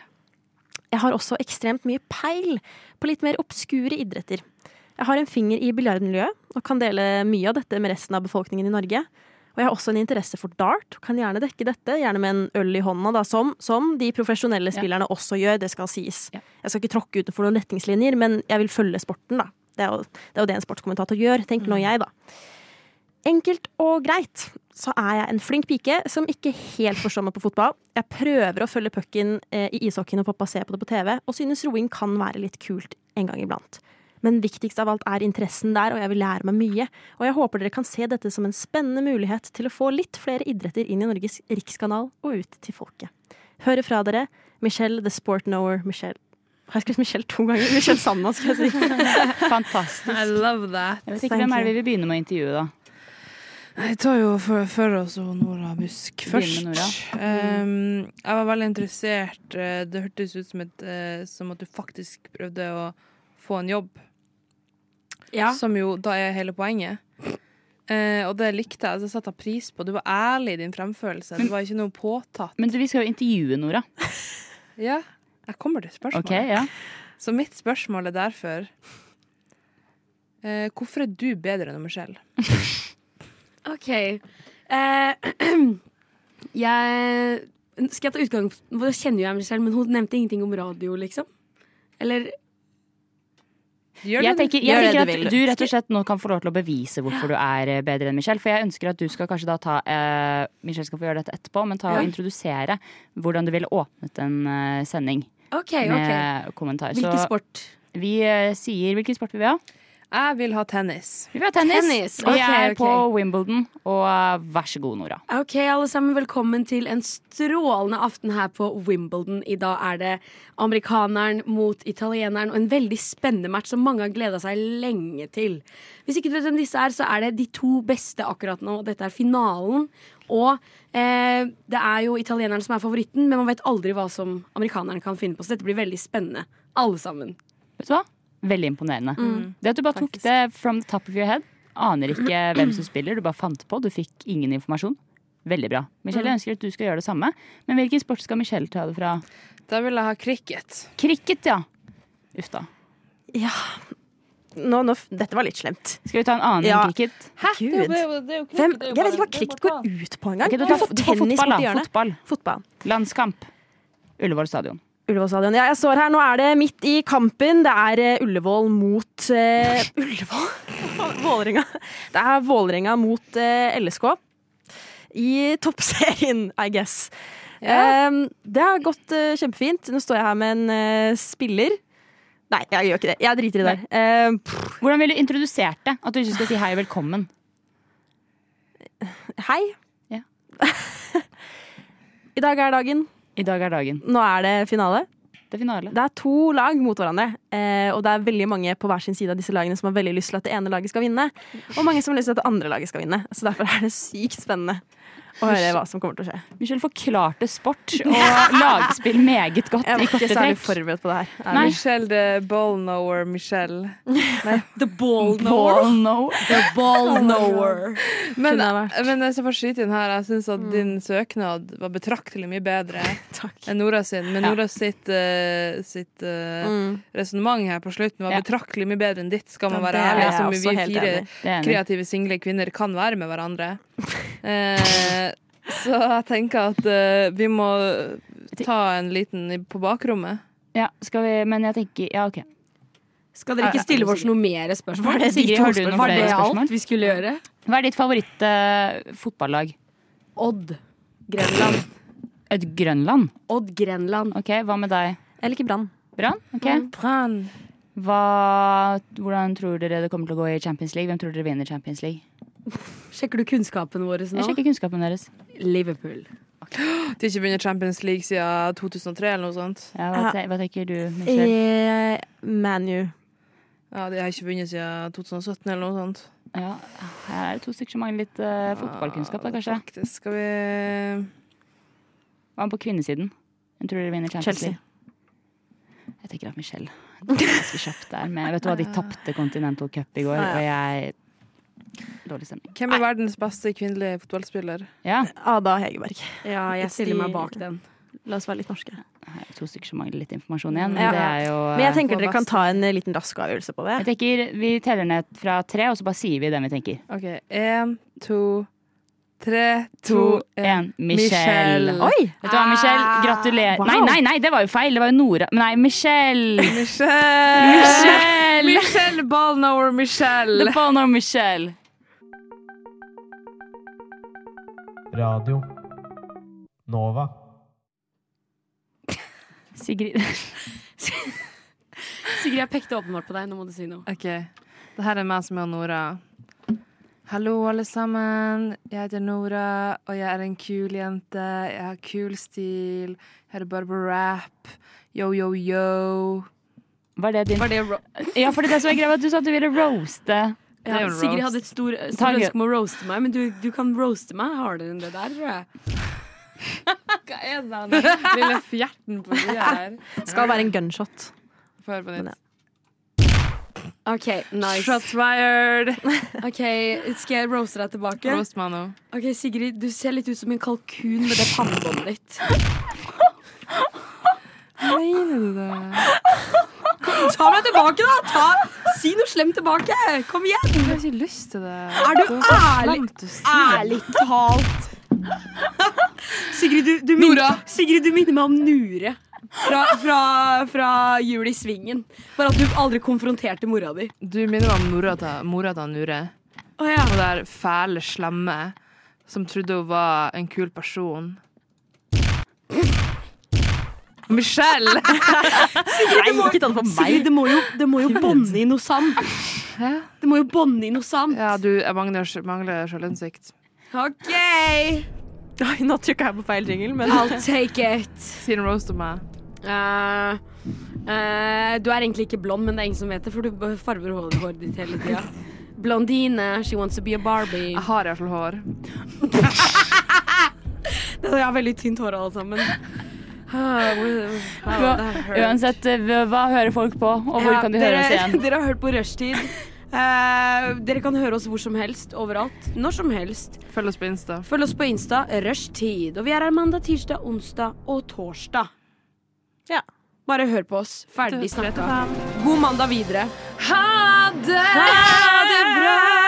Speaker 4: Jeg har også ekstremt mye peil på litt mer obskure idretter. Jeg har en finger i biljardmiljøet og kan dele mye av dette med resten av befolkningen i Norge. Og jeg har også en interesse for dart og kan gjerne dekke dette, gjerne med en øl i hånda, da, som, som de profesjonelle spillerne også gjør, det skal sies.
Speaker 3: Ja.
Speaker 4: Jeg skal ikke tråkke utenfor noen retningslinjer, men jeg vil følge sporten, da. Det er jo det, er jo det en sportskommentator gjør, tenker nå jeg, da. Enkelt og greit så er jeg en flink pike som ikke helt forstår meg på fotball. Jeg prøver å følge pucken eh, i ishockeyen og pappa ser på det på TV, og synes roing kan være litt kult en gang iblant. Men viktigst av alt er interessen der, og jeg vil lære meg mye. Og jeg håper dere kan se dette som en spennende mulighet til å få litt flere idretter inn i Norges rikskanal og ut til folket. Høre fra dere. Michelle the Sport Knower. Michelle Har jeg skrevet Michelle to ganger? Michelle Sandman, skal jeg si.
Speaker 3: Fantastisk.
Speaker 2: I love that.
Speaker 3: Jeg vet ikke hvem er det vi vil begynne med å intervjue, da.
Speaker 2: Jeg tar jo for, for oss og Nora Busk først.
Speaker 3: Begynn med
Speaker 2: Um, jeg var veldig interessert. eh, Det hørtes ut som, et, eh, som at du faktisk prøvde å få en jobb,
Speaker 1: Ja.
Speaker 2: som jo da er hele poenget. Eh, og det likte jeg. Altså, jeg satte pris på. Du var ærlig i din fremførelse. Det var ikke noe påtatt.
Speaker 3: Men du, vi skal jo intervjue Nora.
Speaker 2: Ja, jeg kommer til spørsmålet.
Speaker 3: Ok, ja.
Speaker 2: Så mitt spørsmål er derfor eh, Hvorfor er du bedre enn Michelle?
Speaker 1: OK. Eh, jeg Skal jeg ta utgangspunkt Nå kjenner jo jeg meg selv, men hun nevnte ingenting om radio, liksom. Eller
Speaker 2: Gjør
Speaker 3: Jeg
Speaker 2: det-
Speaker 3: tenker,
Speaker 4: gjør
Speaker 3: jeg tenker
Speaker 4: det du vil.
Speaker 3: at du rett og slett nå kan få lov til å bevise hvorfor du er eh, bedre enn Michelle. For jeg ønsker at du skal kanskje da ta eh, Michelle skal få gjøre dette etterpå, men ta og introdusere hvordan du ville åpnet en eh, sending
Speaker 1: OK, OK.
Speaker 3: med kommentar.
Speaker 1: Hvilken
Speaker 3: Så
Speaker 1: sport?
Speaker 3: vi eh, sier hvilken sport vi vil ha.
Speaker 2: Jeg vil ha tennis.
Speaker 3: Vi vil ha tennis.
Speaker 1: Tennis,
Speaker 3: Vi
Speaker 1: ok,
Speaker 3: er
Speaker 1: ok.
Speaker 3: på Wimbledon, og eh, vær så god, Nora.
Speaker 1: Ok, alle sammen, velkommen til en strålende aften her på Wimbledon. I dag er det amerikaneren mot italieneren, og en veldig spennende match som mange har gleda seg lenge til. Hvis ikke du vet hvem disse er, så er det de to beste akkurat nå. og Dette er finalen. Og eh, det er jo italieneren som er favoritten, men man vet aldri hva som amerikaneren kan finne på. Så dette blir veldig spennende. Alle sammen.
Speaker 3: Vet du hva? Veldig imponerende.
Speaker 4: Mm.
Speaker 3: Det at du bare tok det from the top of your head, aner ikke hvem som spiller, du bare fant på, du fikk ingen informasjon. Veldig bra. Michelle,
Speaker 4: Mm.
Speaker 3: jeg ønsker at du skal gjøre det samme. Men hvilken sport skal Michelle ta det fra?
Speaker 2: Da vil jeg ha cricket.
Speaker 3: Cricket, ja. Uff da.
Speaker 4: Nå, nå, f- dette var litt slemt.
Speaker 3: Skal vi ta en annen
Speaker 4: Ja.
Speaker 3: enn cricket?
Speaker 4: Gud. Hvem, jeg vet ikke hva cricket går ut på engang.
Speaker 3: Ok, du,
Speaker 4: Vi
Speaker 3: tar,
Speaker 4: får
Speaker 3: du tar
Speaker 4: tennis
Speaker 3: fotball,
Speaker 4: borti
Speaker 3: da.
Speaker 4: hjørnet.
Speaker 3: Fotball.
Speaker 4: Fotball.
Speaker 3: Landskamp. Ullevål stadion.
Speaker 4: Ullevål stadion. Ja, jeg står her. Nå er det midt i kampen. Det er eh, Ullevål mot eh, Ullevål? Vålerenga. Det er Vålerenga mot eh, LSK i toppserien, I guess. Ehm, det har gått eh, kjempefint. Nå står jeg her med en eh, spiller. Nei, jeg gjør ikke det. Jeg driter i det. Ehm, pff,
Speaker 3: Hvordan ville du introdusert det? At du ikke skal si hei og velkommen.
Speaker 4: hei.
Speaker 3: Ja.
Speaker 4: I dag er dagen.
Speaker 3: I dag er dagen.
Speaker 4: Nå er det finale.
Speaker 3: Det er finale.
Speaker 4: Det er to lag mot hverandre, eh, og det er veldig mange på hver sin side av disse lagene som har veldig lyst til at det ene laget skal vinne, og mange som har lyst til at det andre laget skal vinne. Så derfor er det sykt spennende å høre hva som kommer til å skje.
Speaker 3: Michelle forklarte sport og lagspill meget godt
Speaker 4: Jeg
Speaker 3: i
Speaker 4: var ikke
Speaker 3: korte
Speaker 4: særlig
Speaker 3: trekk.
Speaker 4: forberedt på det her.
Speaker 3: Nei.
Speaker 4: Er det-
Speaker 2: Michelle the ball knower, Michelle.
Speaker 1: The ball
Speaker 3: Ball, no.
Speaker 1: The ball knower.
Speaker 2: Men,
Speaker 4: Kunne ha vært. Mm.
Speaker 2: men hvis jeg får skyte inn her, jeg syns at din søknad var betraktelig mye bedre
Speaker 4: Takk.
Speaker 2: enn Nora sin. Men
Speaker 3: Ja.
Speaker 2: Nora sitt, uh, sitt eh,
Speaker 4: Mm.
Speaker 2: resonnement her på slutten var
Speaker 3: Ja.
Speaker 2: betraktelig mye bedre enn ditt, skal man
Speaker 4: Ja,
Speaker 2: være
Speaker 4: det er
Speaker 2: ærlig.
Speaker 4: jeg også
Speaker 2: Som vi
Speaker 4: helt
Speaker 2: fire
Speaker 4: enig i.
Speaker 3: Det er enig.
Speaker 2: kreative single kvinner kan være med hverandre. Eh, så jeg tenker at eh, vi må ta en liten i- på bakrommet.
Speaker 3: Ja, skal vi, men jeg tenker Ja, OK.
Speaker 1: Skal dere ikke stille oss noe mer spørsmål?
Speaker 3: Var det- Sigrid, har du noen
Speaker 1: Var
Speaker 3: flere
Speaker 1: det
Speaker 3: spørsmål?
Speaker 1: alt vi skulle gjøre?
Speaker 3: Hva er ditt eh, favoritt-fotballag?
Speaker 1: Odd. Grenland.
Speaker 3: Et Grønland?
Speaker 1: Odd Grenland.
Speaker 3: OK, hva med deg?
Speaker 4: Jeg liker Brann.
Speaker 3: Brann? OK.
Speaker 2: Brann.
Speaker 3: Hva, hvordan tror dere det kommer til å gå i Champions League? Hvem tror dere vinner Champions League?
Speaker 1: Sjekker du kunnskapen vår nå?
Speaker 3: Jeg sjekker kunnskapen deres.
Speaker 1: Liverpool.
Speaker 2: De har ikke vunnet Champions League siden 2003 eller noe sånt.
Speaker 3: Ja, hva, te, hva tenker du, Michelle?
Speaker 4: Eh, ManU.
Speaker 2: Ja, De har ikke vunnet siden 2017 eller noe sånt.
Speaker 3: Ja, her er det to stykker som mangler litt eh, fotballkunnskap, da, kanskje.
Speaker 2: Faktisk, skal vi
Speaker 3: Hva med på kvinnesiden? Hvem tror dere vinner Champions
Speaker 4: Chelsea.
Speaker 3: League? Jeg tenker at Michelle Det er ganske kjapt der. Men vet du hva, de tapte Continental Cup i går, og jeg Dårlig stemning.
Speaker 2: Hvem er verdens beste kvinnelige fotballspiller?
Speaker 3: Ja,
Speaker 4: Ada Hegerberg.
Speaker 1: Ja, jeg stiller meg bak den.
Speaker 4: La oss være litt norske.
Speaker 3: her er det to stykker som mangler litt informasjon igjen. Men
Speaker 4: Ja.
Speaker 3: det er jo
Speaker 4: Men jeg tenker
Speaker 2: Hva
Speaker 4: dere
Speaker 2: er
Speaker 4: kan
Speaker 2: best?
Speaker 4: ta en eh, liten rask avgjørelse på
Speaker 3: Jeg
Speaker 4: det.
Speaker 3: tenker Vi teller ned fra tre, og så bare sier vi den vi tenker.
Speaker 2: OK, én, to, tre,
Speaker 3: To,
Speaker 2: to, én.
Speaker 3: én. Michelle.
Speaker 2: Michelle.
Speaker 4: Oi!
Speaker 3: Vet du hva, Michelle? Gratulerer.
Speaker 4: Wow.
Speaker 3: Nei, nei, nei, det var jo feil. Det var jo Nora. Nei, Michelle.
Speaker 2: Michelle!
Speaker 3: Michelle!
Speaker 2: Michelle Ballnower Michelle.
Speaker 3: The phone of Michelle.
Speaker 7: Radio Nova.
Speaker 3: Sigrid
Speaker 1: Sigrid, jeg pekte åpenbart på deg. Nå må du si noe.
Speaker 2: Ok, det her er meg som er Nora Hallo alle sammen, jeg heter Nora Og jeg er en kul jente Jeg har kul stil Jeg hører bare på rap Yo, yo, yo
Speaker 3: Var det din
Speaker 1: Var det ro
Speaker 3: Ja, for det som er greia, var at du sa at du ville roaste.
Speaker 2: Det er
Speaker 1: ja,
Speaker 2: jo en
Speaker 1: Sigrid
Speaker 2: roast.
Speaker 1: hadde et stor- stort
Speaker 3: Takk.
Speaker 1: ønske om å roaste meg, men du, du kan roaste meg hardere enn det der, tror jeg.
Speaker 2: Hva er det her? Lille fjerten på siden her
Speaker 4: Skal være en gunshot.
Speaker 2: Få høre på nytt
Speaker 1: OK, nice.
Speaker 2: Shots fired!
Speaker 1: Ok, Skal jeg roaste deg tilbake?
Speaker 2: Roast meg nå.
Speaker 1: Ok, Sigrid, du ser litt ut som en kalkun med det pannebåndet ditt.
Speaker 2: Mener du det?
Speaker 1: Ta meg tilbake, da! Ta, si noe slemt tilbake! Kom igjen!
Speaker 2: Jeg har ikke lyst til det.
Speaker 1: Er du ærlig?
Speaker 2: Slemt å si.
Speaker 1: Ærlig talt. Sigrid, du, du minner, Sigrid, du minner meg om Nure. Fra, fra, fra Jul i Svingen. Bare at du aldri konfronterte mora di.
Speaker 2: Du minner meg om mora til mora til Nure.
Speaker 1: Å ja.
Speaker 2: Hun der fæle, slemme som trodde hun var en kul person. Michelle!
Speaker 4: Nei, ikke ta det på
Speaker 1: Sigrid, det må jo, det må jo bånne i noe sand.
Speaker 2: Hæ?
Speaker 1: Det må jo bånne i noe sand.
Speaker 2: Ja, du jeg mangler, mangler selvinnsikt.
Speaker 1: OK,
Speaker 4: Oi, nå trykka jeg på feil jingle, men
Speaker 1: I'll take it.
Speaker 2: Si en roast om meg.
Speaker 1: Eh, eh, du er egentlig ikke blond, men det er ingen som vet det, for du b- farver håret håret ditt hele tida. Blondine, she wants to be a Barbie.
Speaker 2: Jeg har iallfall hår.
Speaker 1: Jeg har veldig tynt hår alle sammen. Ah, wow, wow, that hurt.
Speaker 3: Uansett, eh, hva hører folk på, og hvor
Speaker 1: Ja,
Speaker 3: kan de
Speaker 1: dere,
Speaker 3: høre oss igjen?
Speaker 1: Dere har hørt på Rushtid. Eh, dere kan høre oss hvor som helst, overalt, når som helst.
Speaker 2: Følg oss på Insta.
Speaker 1: Følg oss på Insta, Rushtid. Og vi er her mandag, tirsdag, onsdag og torsdag.
Speaker 4: Ja.
Speaker 1: Bare hør på oss. Ferdig snakka. God mandag videre.
Speaker 2: Ha det! Ha det bra!